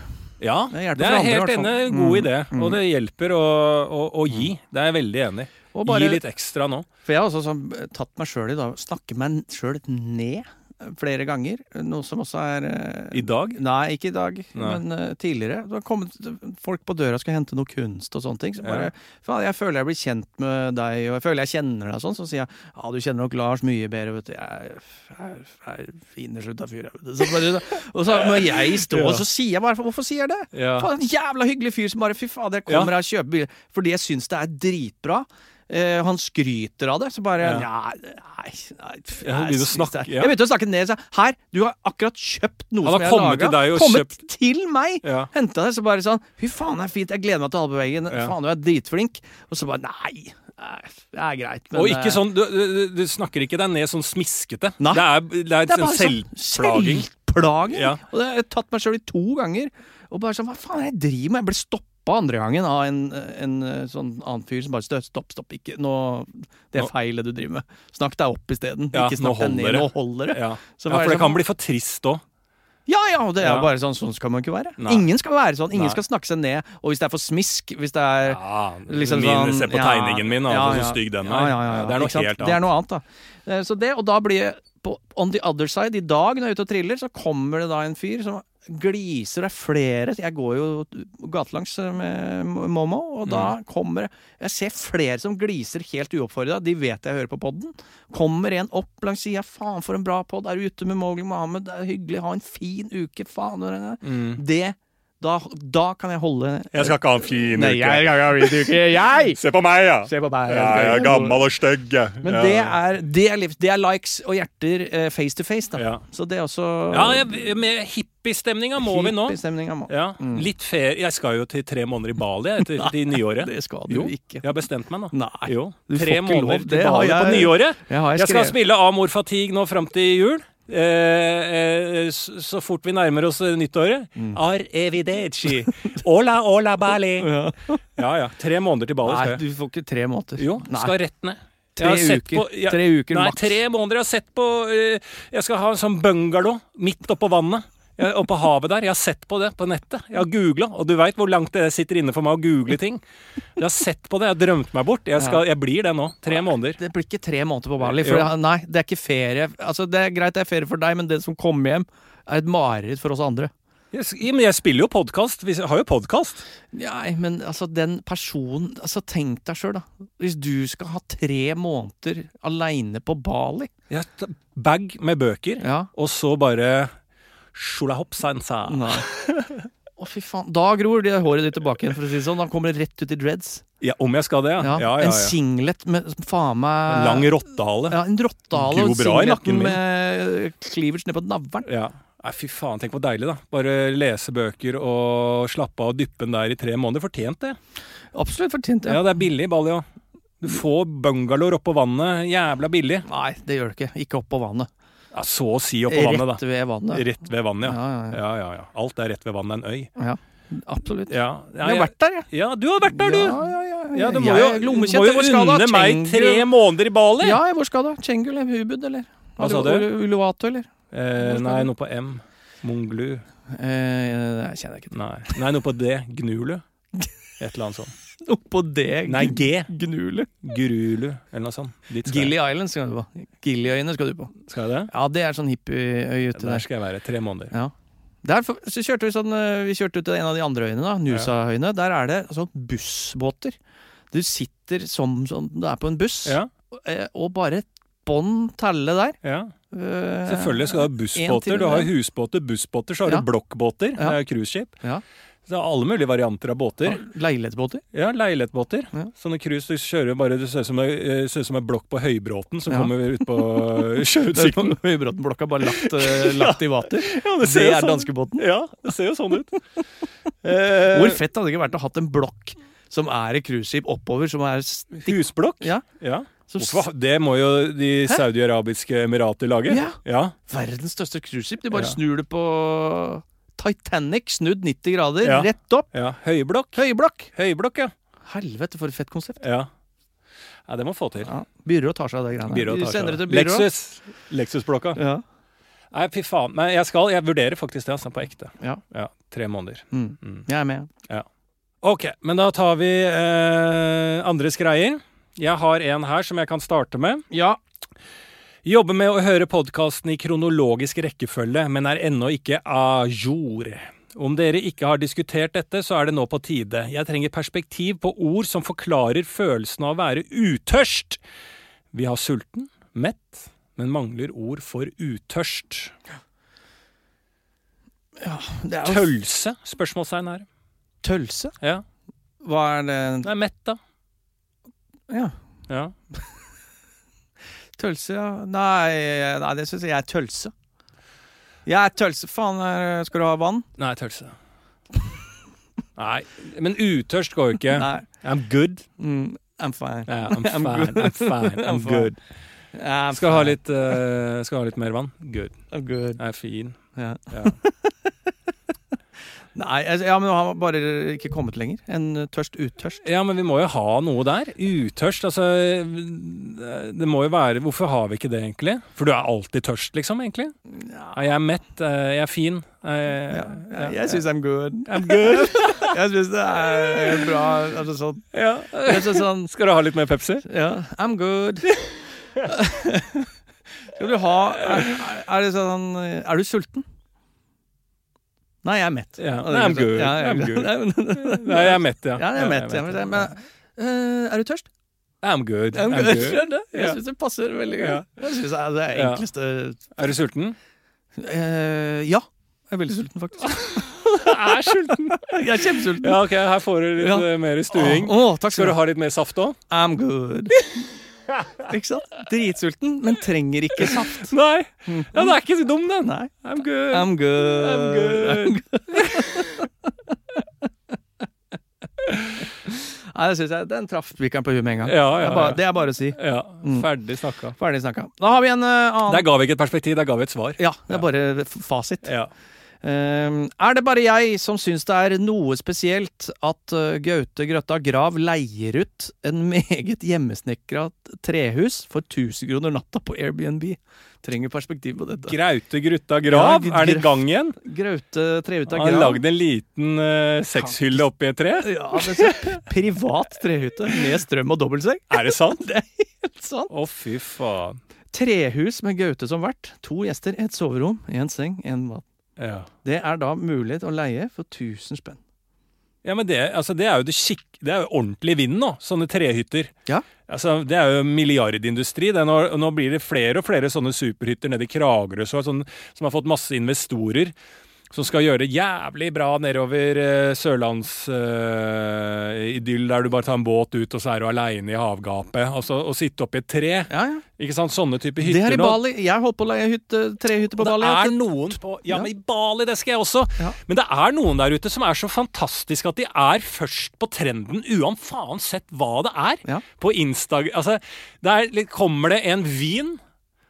A: Ja,
B: Det hjelper
A: det
B: for
A: er
B: andre, i
A: helt
B: hvert fall.
A: enig. God
B: Mm,
A: idé. Og det hjelper å, å, å gi. Det er jeg veldig enig i.
B: Og
A: Gi
B: bare,
A: litt ekstra nå.
B: for jeg har også sånn, eh, tatt meg sjøl i da, snakke meg sjøl ned eh, flere ganger. Noe som også er eh,
A: I dag.
B: Nei, ikke i dag,
A: Nei.
B: men eh, tidligere. Det har kommet folk på døra og skal hente noe kunst og sånne ting. Så
A: Ja.
B: bare Faen, jeg føler jeg blir kjent med deg, og jeg føler jeg kjenner deg og sånn. Så sier jeg ja, du kjenner nok Lars mye bedre, vet du. Jeg er- jeg er inneslutta fyr, jeg, vet du. Så bare, og så må jeg stå, og så sier jeg bare Hvorfor sier jeg det?
A: Ja.
B: Faen, en jævla hyggelig fyr som bare Fy fader, jeg kommer her og kjøper bil. Fordi jeg syns det er dritbra. Eh, han skryter av det, så bare
A: Ja.
B: Nei, nei, nei pff,
A: Ja, han begynner å
B: jeg syns det er-
A: snakke, ja.
B: Jeg begynte å snakke ned. Så, jeg, her, du har akkurat kjøpt noe
A: Han
B: som
A: har
B: jeg har
A: kommet
B: laga.
A: til deg og
B: Kommet
A: kjøpt-
B: til meg!
A: Ja.
B: Henta det, så bare sånn Fy faen, det er fint. Jeg gleder meg til albeveggen.
A: Ja.
B: Faen, du er dritflink. Og så bare Nei, nei, det er greit. men,
A: Og
B: eh,
A: ikke sånn, du, du, du snakker ikke deg ned sånn smiskete.
B: Nei.
A: Det er, det er,
B: Det
A: en
B: er bare sånn
A: selvplaging.
B: selvplaging.
A: Ja.
B: Og det har jeg tatt meg sjøl i to ganger. Og bare sånn, hva faen er det jeg driver med? Jeg ble stoppa andre gangen av en, en eh, sånn annen fyr som bare støt, stopp, stopp, ikke nå Det
A: Nå-
B: er feil det du driver med. Snakk deg opp isteden.
A: Ja,
B: ikke
A: nå holder
B: snakk deg ned.
A: det.
B: Nå holder det.
A: Ja.
B: Så
A: ja,
B: bare
A: for det
B: sånn-
A: kan bli for trist òg.
B: Ja ja, og det er
A: Ja.
B: bare sånn, sånn skal man ikke være.
A: Nei.
B: Ingen skal være sånn. Ingen
A: Nei.
B: skal snakke seg ned. Og hvis det er for smisk, hvis det er
A: Ja,
B: Liksom
A: min,
B: sånn,
A: se på
B: ja,
A: tegningen min, altså,
B: ja, ja.
A: så stygg den er.
B: Ja, ja, ja, ja.
A: Det er noe
B: Ikke sant?
A: helt
B: Det er
A: annet.
B: noe annet, da. Eh, Så det, og da blir jeg på on the other side i dag, når jeg er ute og triller, så kommer det da en fyr som gliser. Det er flere Jeg går jo gatelangs eh, med Momo, og da
A: Mm.
B: kommer det Jeg ser flere som gliser helt uoppfordra. De vet jeg hører på podden. Kommer en opp langs sida. Faen, for en bra pod. Er du ute med Mowgli Mohammed? Det er hyggelig. Ha en fin uke. Faen. hvor er det?
A: Mm.
B: Det da, da kan jeg holde
A: Jeg skal ikke ha en fin
B: Nei,
A: uke.
B: jeg kan ikke ha hvit uke. Jeg!
A: Se på meg, ja!
B: Se på meg.
A: Ja, jeg er gammel og stygg. jeg.
B: Men
A: Ja.
B: det, er, det, er, livs- det er likes og hjerter eh, face to face, da.
A: Ja.
B: Så det er også
A: Ja, jeg, med hippiestemninga må vi nå.
B: Hippiestemninga må
A: Ja, Litt ferie Jeg skal jo til tre måneder i Bali jeg, etter til nyåret.
B: Det skal du
A: Jo,
B: ikke.
A: jeg har bestemt meg nå.
B: Nei.
A: Jo,
B: Du får
A: tre
B: ikke lov.
A: måneder til
B: Det har
A: Bali på
B: jeg-
A: nyåret.
B: Jeg har
A: Jeg skal
B: skrevet
A: spille Amor Fatigue nå fram til jul. eh, eh, s- så fort vi nærmer oss eh, nyttåret.
B: Mm.
A: Arrivederci. Ola, ola, Bali.
B: Ja.
A: Ja, ja. Tre måneder til Bali
B: Nei,
A: skal jeg.
B: du får ikke tre måneder.
A: Jo,
B: Nei.
A: skal rett ned. Jeg
B: Tre
A: har sett
B: uker.
A: på- ja,
B: Tre uker
A: Nei,
B: maks.
A: tre måneder. Jeg har sett på eh, Jeg skal ha en sånn bungalow midt oppå vannet. eh, Oppå havet der. Jeg har sett på det på nettet. Jeg har googla, og du veit hvor langt det sitter inne for meg å google ting. Jeg har sett på det. Jeg har drømt meg bort. Jeg, skal, jeg blir det nå. Tre måneder.
B: Det blir ikke tre måneder på Bali.
A: Jo.
B: For jeg, nei, det er ikke ferie. Altså, det er greit det er ferie for deg, men det som kommer hjem, er et mareritt for oss andre.
A: Jeg, s- men jeg spiller jo podkast. Vi s- har jo podkast.
B: Nei, men altså, den personen Altså, tenk deg sjøl, da. Hvis du skal ha tre måneder aleine på Bali
A: Jeg har t- bag med bøker,
B: Ja.
A: og så bare Sjolahoppsansa.
B: Nei. Å, fy faen. Da gror det håret ditt tilbake igjen, for å si det sånn. Da kommer det rett ut i dreads.
A: Ja, om jeg skal det, ja. ja,
B: Ja,
A: ja,
B: En
A: ja.
B: singlet med faen meg
A: Lang rottehale.
B: Ja, en rottehale og
A: Gror bra i nakken
B: singleten
A: min.
B: med cleavage ned på navlen.
A: Ja. Nei, fy faen, tenk hvor deilig, da. Bare lese bøker og slappe av og dyppe den der i tre måneder. Fortjent det.
B: Absolutt fortjent,
A: Ja,
B: ja.
A: det er billig i Bali òg. Du får bungalower oppå vannet. Jævla billig.
B: Nei, det gjør det ikke. Ikke opp på vannet.
A: Ja, så å si oppå vannet,
B: Rett
A: da.
B: ved vannet.
A: Rett ved vannet, ja.
B: Ja, ja, ja.
A: Ja, ja, ja. Alt er rett ved vannet, en øy.
B: ja. Absolutt.
A: Ja, ja,
B: Jeg har vært der, jeg.
A: ja du har vært der, du!
B: Ja, ja, ja. ja.
A: Ja, du må
B: Jeg
A: jo,
B: er
A: du må
B: lommekjent,
A: jo
B: hvor skal da?
A: unne meg
B: Chengdu?
A: tre måneder i Bali!
B: Ja, hvor skal du? Chengul eller Hubud, eller?
A: Hva sa
B: Ulu-
A: du?
B: Ulu- Uluwatu, eller?
A: Eh, nei, noe på M. Monglu.
B: Eh, jeg kjenner ikke
A: Nei, nei noe på D. Gnulu. Et eller annet sånt.
B: til Oppå det
A: Nei, G.
B: Gnule.
A: Gurulu, eller noe sånt. Dit skal
B: Gilly
A: jeg.
B: Island skal du på. Gillyøyene skal du på.
A: Skal jeg det?
B: Ja, det er sånn hippieøy uti
A: Der
B: der.
A: skal jeg være. Tre måneder.
B: Ja. Der for- så kjørte vi sånn eh, Vi kjørte ut til en av de andre øyene, da. Nusaøyene. Der er det sånn bussbåter. Du sitter som, som du er på en buss,
A: Ja,
B: eh, og bare bånn telle der.
A: ja.
B: Eh,
A: Selvfølgelig skal du ha
B: en
A: bussbåter.
B: til,
A: Du har
B: ja.
A: husbåter, bussbåter, så har
B: Ja.
A: du blokkbåter.
B: Ja.
A: Det er cruiseskip.
B: Ja.
A: Så det er alle mulige varianter av båter.
B: Leilighetsbåter.
A: Ja, Leilighetsbåter.
B: Ja.
A: Sånne cruise du kjører bare Du ser ut som, en- eh, ser ut som en blokk på Høybråten som
B: Ja.
A: kommer ut på
B: Det er på
A: sjøutsikten.
B: Høybråtenblokka, bare lagt, eh, lagt i vater.
A: Ja,
B: Det,
A: ser jo
B: er
A: sånn-
B: danskebåten.
A: Ja, det ser jo sånn ut. Eh,
B: Hvor fett hadde det ikke vært å hatt en blokk som er i cruiseskip oppover, som er stikk
A: Husblokk?
B: Ja.
A: Ja.
B: som
A: Hvorfor? Det må jo de
B: Hæ?
A: Saudi-Arabiske Emirater lage.
B: Ja.
A: ja.
B: Verdens største cruiseskip. De bare
A: Ja.
B: snur det på Titanic, snudd 90 grader,
A: Ja.
B: rett opp.
A: ja. Høyblokk.
B: Høyblokk!
A: Høyblokk, ja.
B: Helvete, for et fett konsept.
A: ja. Ja, det må få til.
B: Ja. Byrået tar seg av det greiene.
A: Byrå
B: Vi
A: tar seg
B: sender det
A: av
B: til
A: det.
B: byrået.
A: Lexus. Lexus-blokka.
B: Ja.
A: Nei, fy faen. Men jeg skal, jeg vurderer faktisk det, altså, på ekte.
B: Ja.
A: Tre måneder.
B: Mm.
A: Mm.
B: Jeg er med.
A: Ok, men da tar vi eh, andres greier. Jeg har en her som jeg kan starte med.
B: Ja.
A: Jobber med å høre podkasten i kronologisk rekkefølge, men er ennå ikke a jour. Om dere ikke har diskutert dette, så er det nå på tide. Jeg trenger perspektiv på ord som forklarer følelsen av å være utørst. Vi har sulten, mett, men mangler ord for utørst.
B: Det er jo
A: Tølse? Spørsmålstegn her.
B: tølse.
A: Ja.
B: Hva er det
A: Det er mett, da.
B: Ja.
A: Ja.
B: Tølse, ja. Nei, nei det syns jeg er tølse. Jeg er tølse. Faen, eh, skal du ha vann?
A: Nei, tølse. Nei, men utørst går jo ikke.
B: Nei.
A: I'm good.
B: Mm, I'm fine.
A: Ja, I'm
B: I'm
A: fine,
B: good.
A: I'm fine, I'm
B: I'm fine.
A: good.
B: I'm
A: Skal ha
B: fine.
A: litt, eh, skal ha litt mer vann? Good.
B: I'm good.
A: Jeg er fin.
B: Ja.
A: Ja.
B: Nei, altså, ja, men han har bare ikke kommet lenger enn eh, tørst utørst.
A: Ja, men vi må jo ha noe der. Utørst, altså Det må jo være Hvorfor har vi ikke det, egentlig? For du er alltid tørst, liksom, egentlig?
B: Ja,
A: Ja, Jeg er mett, eh, jeg er fin. eh,
B: ja,
A: ja,
B: jeg syns I'm good.
A: I'm good.
B: Jeg syns det er bra. Altså sånn,
A: Ja.
B: jeg synes sånn
A: Skal du ha litt mer Pepsi?
B: Ja, I'm good. Skal du ha er, er det sånn Er du sulten? Nei, jeg er mett.
A: Ja, nei, I'm good.
B: Ja, jeg,
A: I'm good.
B: good.
A: Nei, jeg er mett, ja.
B: Ja, jeg er mett.
A: Ja,
B: Jeg er mett. Men eh, er du tørst?
A: I'm good.
B: I'm
A: I'm
B: good.
A: good.
B: Skjønner du? Jeg syns det passer veldig
A: Ja.
B: godt. Jeg syns det er det
A: Ja.
B: enkleste
A: Er du sulten?
B: Eh, ja. Jeg er veldig sulten, faktisk.
A: Jeg er sulten.
B: Jeg er kjempesulten.
A: Ja, ok, her får du litt
B: Ja.
A: eh, mer stuing.
B: Å, å, takk
A: Skal
B: skal
A: du
B: du ha.
A: ha litt mer saft òg?
B: I'm good. ikke sant? Dritsulten, men trenger ikke saft.
A: Nei. Ja, det er ikke så dum, den.
B: Nei.
A: I'm good.
B: I'm good.
A: I'm good.
B: Nei, Nei, det synes jeg, Den traff spikeren på huet med en gang.
A: Ja, ja,
B: Det, er bare,
A: ja.
B: det er bare å si.
A: Ja, Ferdig snakka.
B: Ferdig snakka. Da har vi en eh, annen
A: Der ga vi ikke et perspektiv, der ga vi et svar.
B: Ja, det er bare f- fasit.
A: Ja.
B: Ehm, er det bare jeg som syns det er noe spesielt at eh, Gaute Grøtta Grav leier ut en meget hjemmesnekra trehus for 1000 kroner natta på Airbnb? Trenger perspektiv på dette.
A: Graute Grutta Grav,
B: Ja,
A: er det i gang igjen?
B: Graute Trehutta
A: Han
B: Grav.
A: lagde en liten uh, sexhylle oppi et tre.
B: Ja, men så privat trehytte med strøm og dobbeltseng.
A: Er det sant?
B: Det er helt sant.
A: Å, fy faen.
B: Trehus med Gaute som vert. To gjester, et soverom, én seng, én mat.
A: Ja.
B: Det er da mulighet å leie for 1000 spenn.
A: Ja, men det, altså, det er jo det skikk... Det er jo ordentlig vind nå, sånne trehytter.
B: Ja.
A: Altså, det er jo milliardindustri. Det er nå, nå blir det flere og flere sånne superhytter nede i Kragerø så, sånn, som har fått masse investorer. Som skal gjøre det jævlig bra nedover uh, sørlandsidyll, der du bare tar en båt ut, og så er du aleine i havgapet. Altså, å sitte oppi et tre.
B: Ja, ja.
A: Ikke sant? Sånne type
B: Det
A: hytter
B: er i Bali. Jeg holdt på å leie hytte, trehytte på Bali.
A: Det
B: at
A: er noen på Ja,
B: Ja.
A: men i Bali, det skal jeg også.
B: Ja.
A: Men det er noen der ute som er så fantastiske at de er først på trenden, uansett hva det er.
B: Ja.
A: På Instagram Altså, det er, litt- kommer det en vin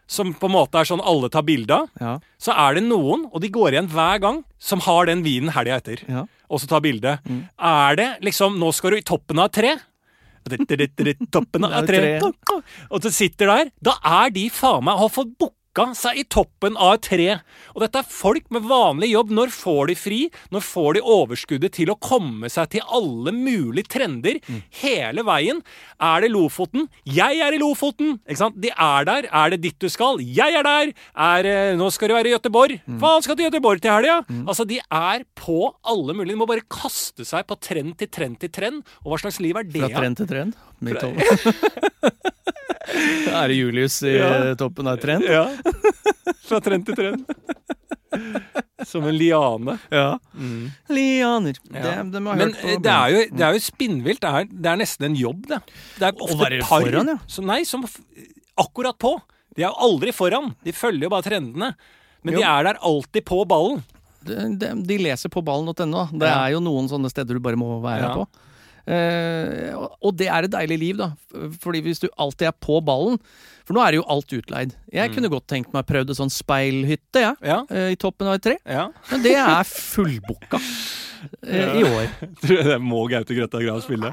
A: som på en måte er sånn alle tar bilde av,
B: Ja,
A: så er det noen, og de går igjen hver gang, som har den vinen helga etter.
B: ja. Mm.
A: Og så tar bilde. Er det liksom Nå skal du i toppen av et tre. Toppen av et
B: Det er jo
A: tre. Og du sitter der. Da er de faen meg har fått booka seg i toppen av et tre. Og dette er folk med vanlig jobb. Når får de fri? Når får de overskuddet til å komme seg til alle mulige trender hele veien? Er det Lofoten? Jeg er i Lofoten! Ikke sant? De er der. Er det dit du skal? Jeg er der! Er, eh, nå skal du være i Gøteborg. Faen, skal til Gøteborg til helga! Altså, de er på alle mulige. De må bare kaste seg på trend til trend til trend. Og hva slags liv er det?
B: Fra
A: da?
B: trend til trend. Mitt over. Da er det Julius i
A: Ja.
B: toppen av trend.
A: Ja. Fra trend til trend. Som en liane.
B: Ja. Lianer.
A: Ja.
B: Det, det må jeg ha
A: Men
B: hørt
A: eh,
B: på.
A: det er jo, det er jo spinnvilt. Det er, det er nesten en jobb, det. Det er ofte
B: være
A: par
B: foran, ja.
A: som, nei, som f- akkurat på. De er jo aldri foran. De følger jo bare trendene. Men
B: Jo.
A: de er der alltid på ballen.
B: de, de, de leser på ballen.no. da. Det
A: Ja.
B: er jo noen sånne steder du bare må være
A: Ja.
B: på. Eh, og- og det er et deilig liv, da. F- Fordi hvis du alltid er på ballen For nå er jo alt utleid. Jeg kunne godt tenkt meg prøvd en sånn speilhytte, jeg.
A: Ja.
B: eh, I toppen av et tre.
A: ja.
B: Men det er fullbooka eh, i år.
A: Tror jeg det må Gaute Grøtta Grav spille.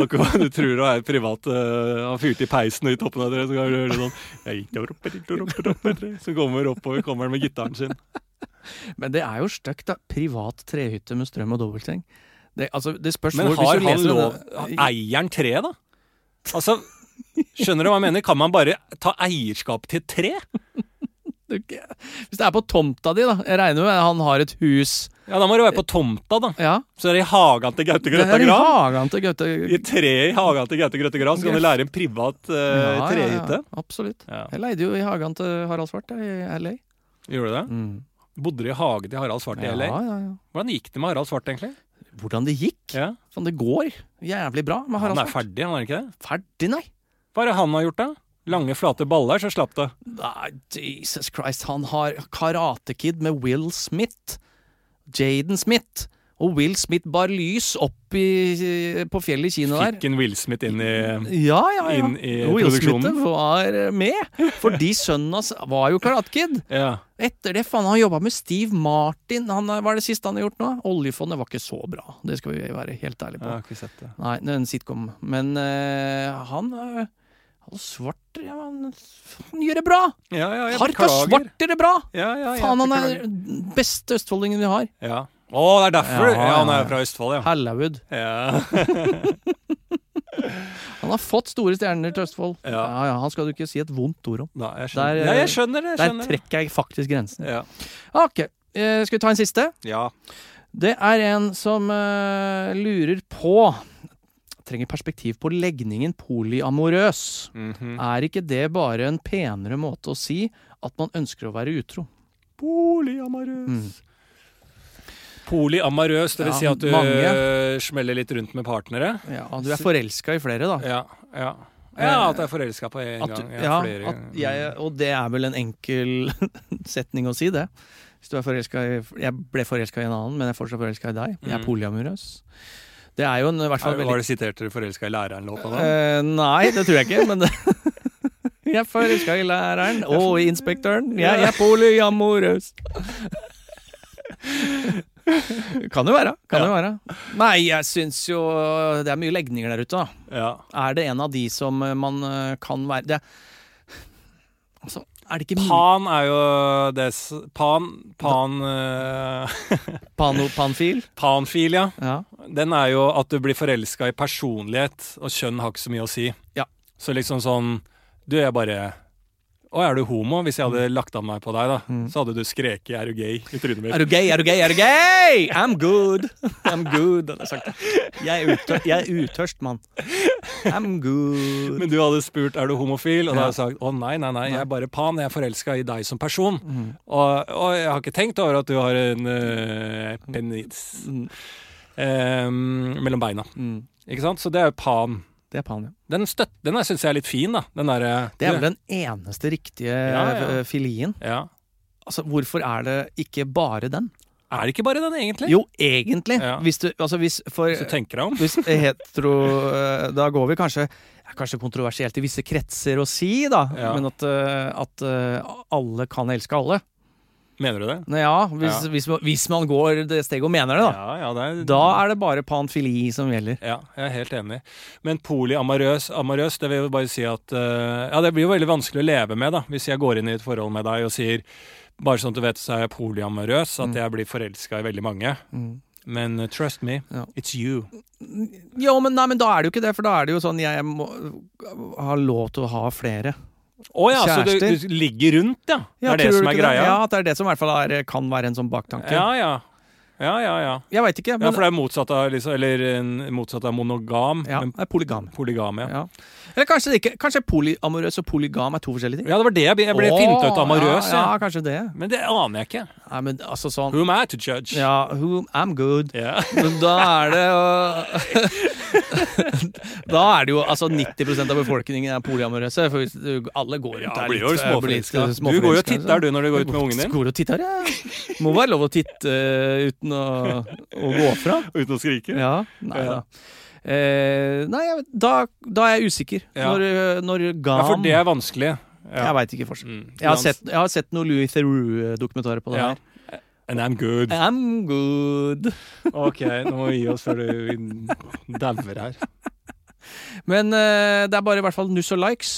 A: Akkurat du tror han er privat eh, Han fyrte i peisen og i toppen av treet, så kan du høre sånn «Jeg gikk over opp, opp, opp, opp, opp, opp», Så kommer oppover, kommer han med gitaren sin.
B: Men det er jo stygt, da. Privat trehytte med strøm og dobbeltseng. Det, altså, det spørs
A: Men
B: hvor hvis
A: har
B: du
A: han
B: leser
A: lov
B: den-
A: Eier han treet, da? Altså, skjønner du hva jeg mener? Kan man bare ta eierskap til et tre?
B: Du- Hvis det er på tomta di, da. Jeg regner med at han har et hus.
A: Ja, da må det være på tomta, da.
B: Ja.
A: Så er det i hagen til Gaute
B: Det
A: Grøtta
B: er i
A: Grav.
B: hagen til Gaute
A: I eh, treet i hagen til Gaute Grøtta Grav, så kan du lære en privat eh,
B: Ja, ja, ja,
A: trehytte.
B: Absolutt.
A: Ja.
B: Jeg leide jo i hagen til Harald Svart jeg, i LA.
A: Gjorde du det? Bodde du i hage til Harald Svart i LA?
B: Ja, ja, ja.
A: Hvordan gikk det med Harald Svart, egentlig?
B: Hvordan det gikk?
A: Ja.
B: Faen, det går jævlig bra med
A: Han
B: Harald
A: er
B: Svart.
A: ferdig, han er ikke det?
B: Ferdig, nei.
A: Hva er det han har gjort, da? Lange, flate baller, så slapp det.
B: Nei, Jesus Christ, han har Karate Kid med Will Smith. Jaden Smith. Og Will Smith bar lys opp i, på fjellet i Kina der.
A: Fikk en Will Smith inn i
B: Ja, ja, ja.
A: inn i
B: Will Smith
A: produksjonen.
B: var med. Fordi sønnen hans var jo Karate Kid.
A: Ja.
B: Etter det, faen, han jobba med Steve Martin. Han, hva er det siste han har gjort nå? Oljefondet var ikke så bra. Det skal vi være helt
A: Jeg
B: ærlige på.
A: har ikke sett det.
B: Nei, det er en sitcom. Men eh, han eh, Han svart ja, han, han gjør det bra!
A: Ja, ja, jeg
B: Harka
A: beklager.
B: Svart gjør det bra!
A: Ja, ja, jeg
B: Faen, han
A: beklager.
B: er beste østfoldingen vi har.
A: Ja. Å, det er derfor!
B: Ja,
A: Ja, han
B: ja,
A: er
B: ja.
A: fra Østfold, ja.
B: Hallaud.
A: ja.
B: Han har fått store stjerner til Østfold.
A: Ja.
B: Ja. ja, Han skal du ikke si et vondt ord om.
A: Nei, jeg skjønner.
B: Der,
A: Nei,
B: eh,
A: jeg skjønner det. Jeg
B: Der
A: skjønner. det.
B: trekker jeg faktisk grensen.
A: Ja.
B: Ok, eh, skal vi ta en siste?
A: ja.
B: Det er en som eh, lurer på Trenger perspektiv på legningen polyamorøs.
A: Mhm.
B: Er ikke det bare en penere måte å si at man ønsker å være utro?
A: Polyamorøs.
B: Mm.
A: Polyamorøs, det vil
B: Ja,
A: si at du
B: mange.
A: øh, smeller litt rundt med partnere?
B: Ja, du er forelska i flere, da.
A: Ja. Ja, ja at jeg er forelska på en
B: At du,
A: gang. Ja,
B: ja,
A: flere
B: at
A: ganger. Mm.
B: jeg, og det er vel en enkel setning å si, det. Hvis du er forelska i Jeg ble forelska i en annen, men jeg er fortsatt forelska i deg. Jeg er
A: Mm.
B: polyamorøs. Det er jo en, i hvert fall veldig
A: Var det sitert dere 'Forelska i læreren'-låta da?
B: Eh, nei, det tror jeg ikke, men det Jeg er forelska i læreren og i inspektøren. Jeg er polyamorøs. Kan jo være. Kan jo være. Nei, jeg syns jo Det er mye legninger der ute, da.
A: Ja.
B: Er det en av de som eh, man eh, kan være det, er- Altså, er det ikke mye
A: Pan er jo det s- Pan Pan eh,
B: panopanfil?
A: Panfil, ja.
B: Ja.
A: Den er jo at du blir forelska i personlighet, og kjønn har ikke så mye å si.
B: Ja.
A: Så liksom sånn Du, jeg bare Å, er du homo? Hvis jeg
B: Mm.
A: hadde lagt av meg på deg, da, så hadde du skreket 'er du gay' i trynet mitt.
B: Er du gay, er du gay, er du gay? I'm good. I'm good, hadde jeg sagt. Jeg er, utør, jeg er utørst, mann. I'm good.
A: Men du hadde spurt er du homofil, og da
B: Ja.
A: hadde jeg sagt å nei, nei, nei, jeg er bare pan, jeg er forelska i deg som person.
B: Mm.
A: Og, og jeg har ikke tenkt over at du har en eh, penis
B: Mm.
A: eh, mellom beina.
B: Mm.
A: Ikke sant? Så det er jo pan.
B: Det er pan, ja.
A: Den, støtt, den syns jeg er litt fin, da. Den øh, derre
B: Det er vel den eneste riktige
A: ja.
B: eh, filien.
A: ja.
B: Altså, hvorfor er det ikke bare den?
A: Er det ikke bare den, egentlig?
B: Jo, egentlig!
A: Ja.
B: Hvis du Altså, hvis for
A: Hvis du tenker deg om.
B: Hvis hetero eh, Da går vi kanskje det er Kanskje kontroversielt i visse kretser å si, da,
A: Ja.
B: men at, eh, at eh, alle kan elske alle.
A: Mener du det?
B: Nei, ja, hvis,
A: Ja.
B: Hvis, man- hvis man går det steget og mener det, da.
A: Ja, ja, det er,
B: Da er det bare panfili som gjelder.
A: Ja, jeg er helt enig. Men polyamorøs amorøs, det vil jo bare si at eh, Ja, det blir jo veldig vanskelig å leve med, da, hvis jeg går inn i et forhold med deg og sier Bare sånn at du vet, så er jeg polyamorøs, at jeg blir forelska i veldig mange.
B: Mm.
A: Men eh, trust me,
B: Ja.
A: it's you.
B: Jo, men, nei, men da er det jo ikke det, for da er det jo sånn jeg må ha lov til å ha flere.
A: Å ja, så du,
B: Kjærester.
A: du ligger rundt, ja? Det er det
B: tror du
A: som er
B: ikke
A: greia?
B: Ja, at det er det som i hvert fall er, kan være en sånn baktanke.
A: Ja, ja. Ja, ja, ja.
B: Jeg veit ikke,
A: ja,
B: men
A: for det er motsatt av, liksom, eller en- motsatt av monogam.
B: ja,
A: Men
B: det er polygam.
A: polygam, ja.
B: Ja. Eller kanskje det ikke Kanskje polyamorøs og polygam er to forskjellige ting?
A: Ja, det var det jeg ble, jeg ble
B: Åh,
A: finta ut av amorøs,
B: ja,
A: ja.
B: ja. Kanskje det.
A: Men det aner jeg ikke.
B: Nei, men altså sånn
A: Who am I to judge?
B: Ja, who, I'm good.
A: Ja.
B: Men da er det jo Da er det jo altså 90 av befolkningen er polyamorøse. For hvis du, alle går
A: Ja,
B: rundt der
A: blir jo
B: litt, eh, blir litt
A: småforelska. Du
B: småforelska,
A: går jo og titter,
B: så.
A: du, når du går ut med ungen din.
B: Går og titter, ja. Må være lov å titte eh, uten å, å gå fra.
A: Uten å skrike.
B: Ja, nei
A: Ja.
B: da. Eh, nei, jeg vet- da, da er jeg usikker.
A: Ja.
B: Når, eh, når
A: Ja, for
B: Gam
A: det er vanskelig.
B: Jeg veit ikke forskjell.
A: Mm.
B: Jeg har, sett, jeg har sett noen Louis Theroux-dokumentarer på det
A: Ja.
B: her.
A: And I'm good.
B: I'm good.
A: Ok, nå må vi gi oss før du dauer her.
B: Men eh, det er bare i hvert fall nuss og likes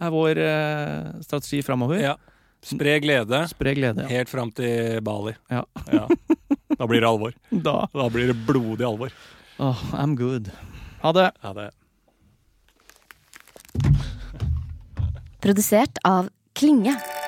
B: er vår eh, strategi framover.
A: Ja. Spre glede
B: Spre glede. Ja.
A: helt fram til Bali.
B: Ja.
A: Da blir det alvor.
B: Da.
A: Da blir det blodig alvor.
B: Åh, I'm good. Ha det.
A: Ja, det
C: Produsert av Klinge.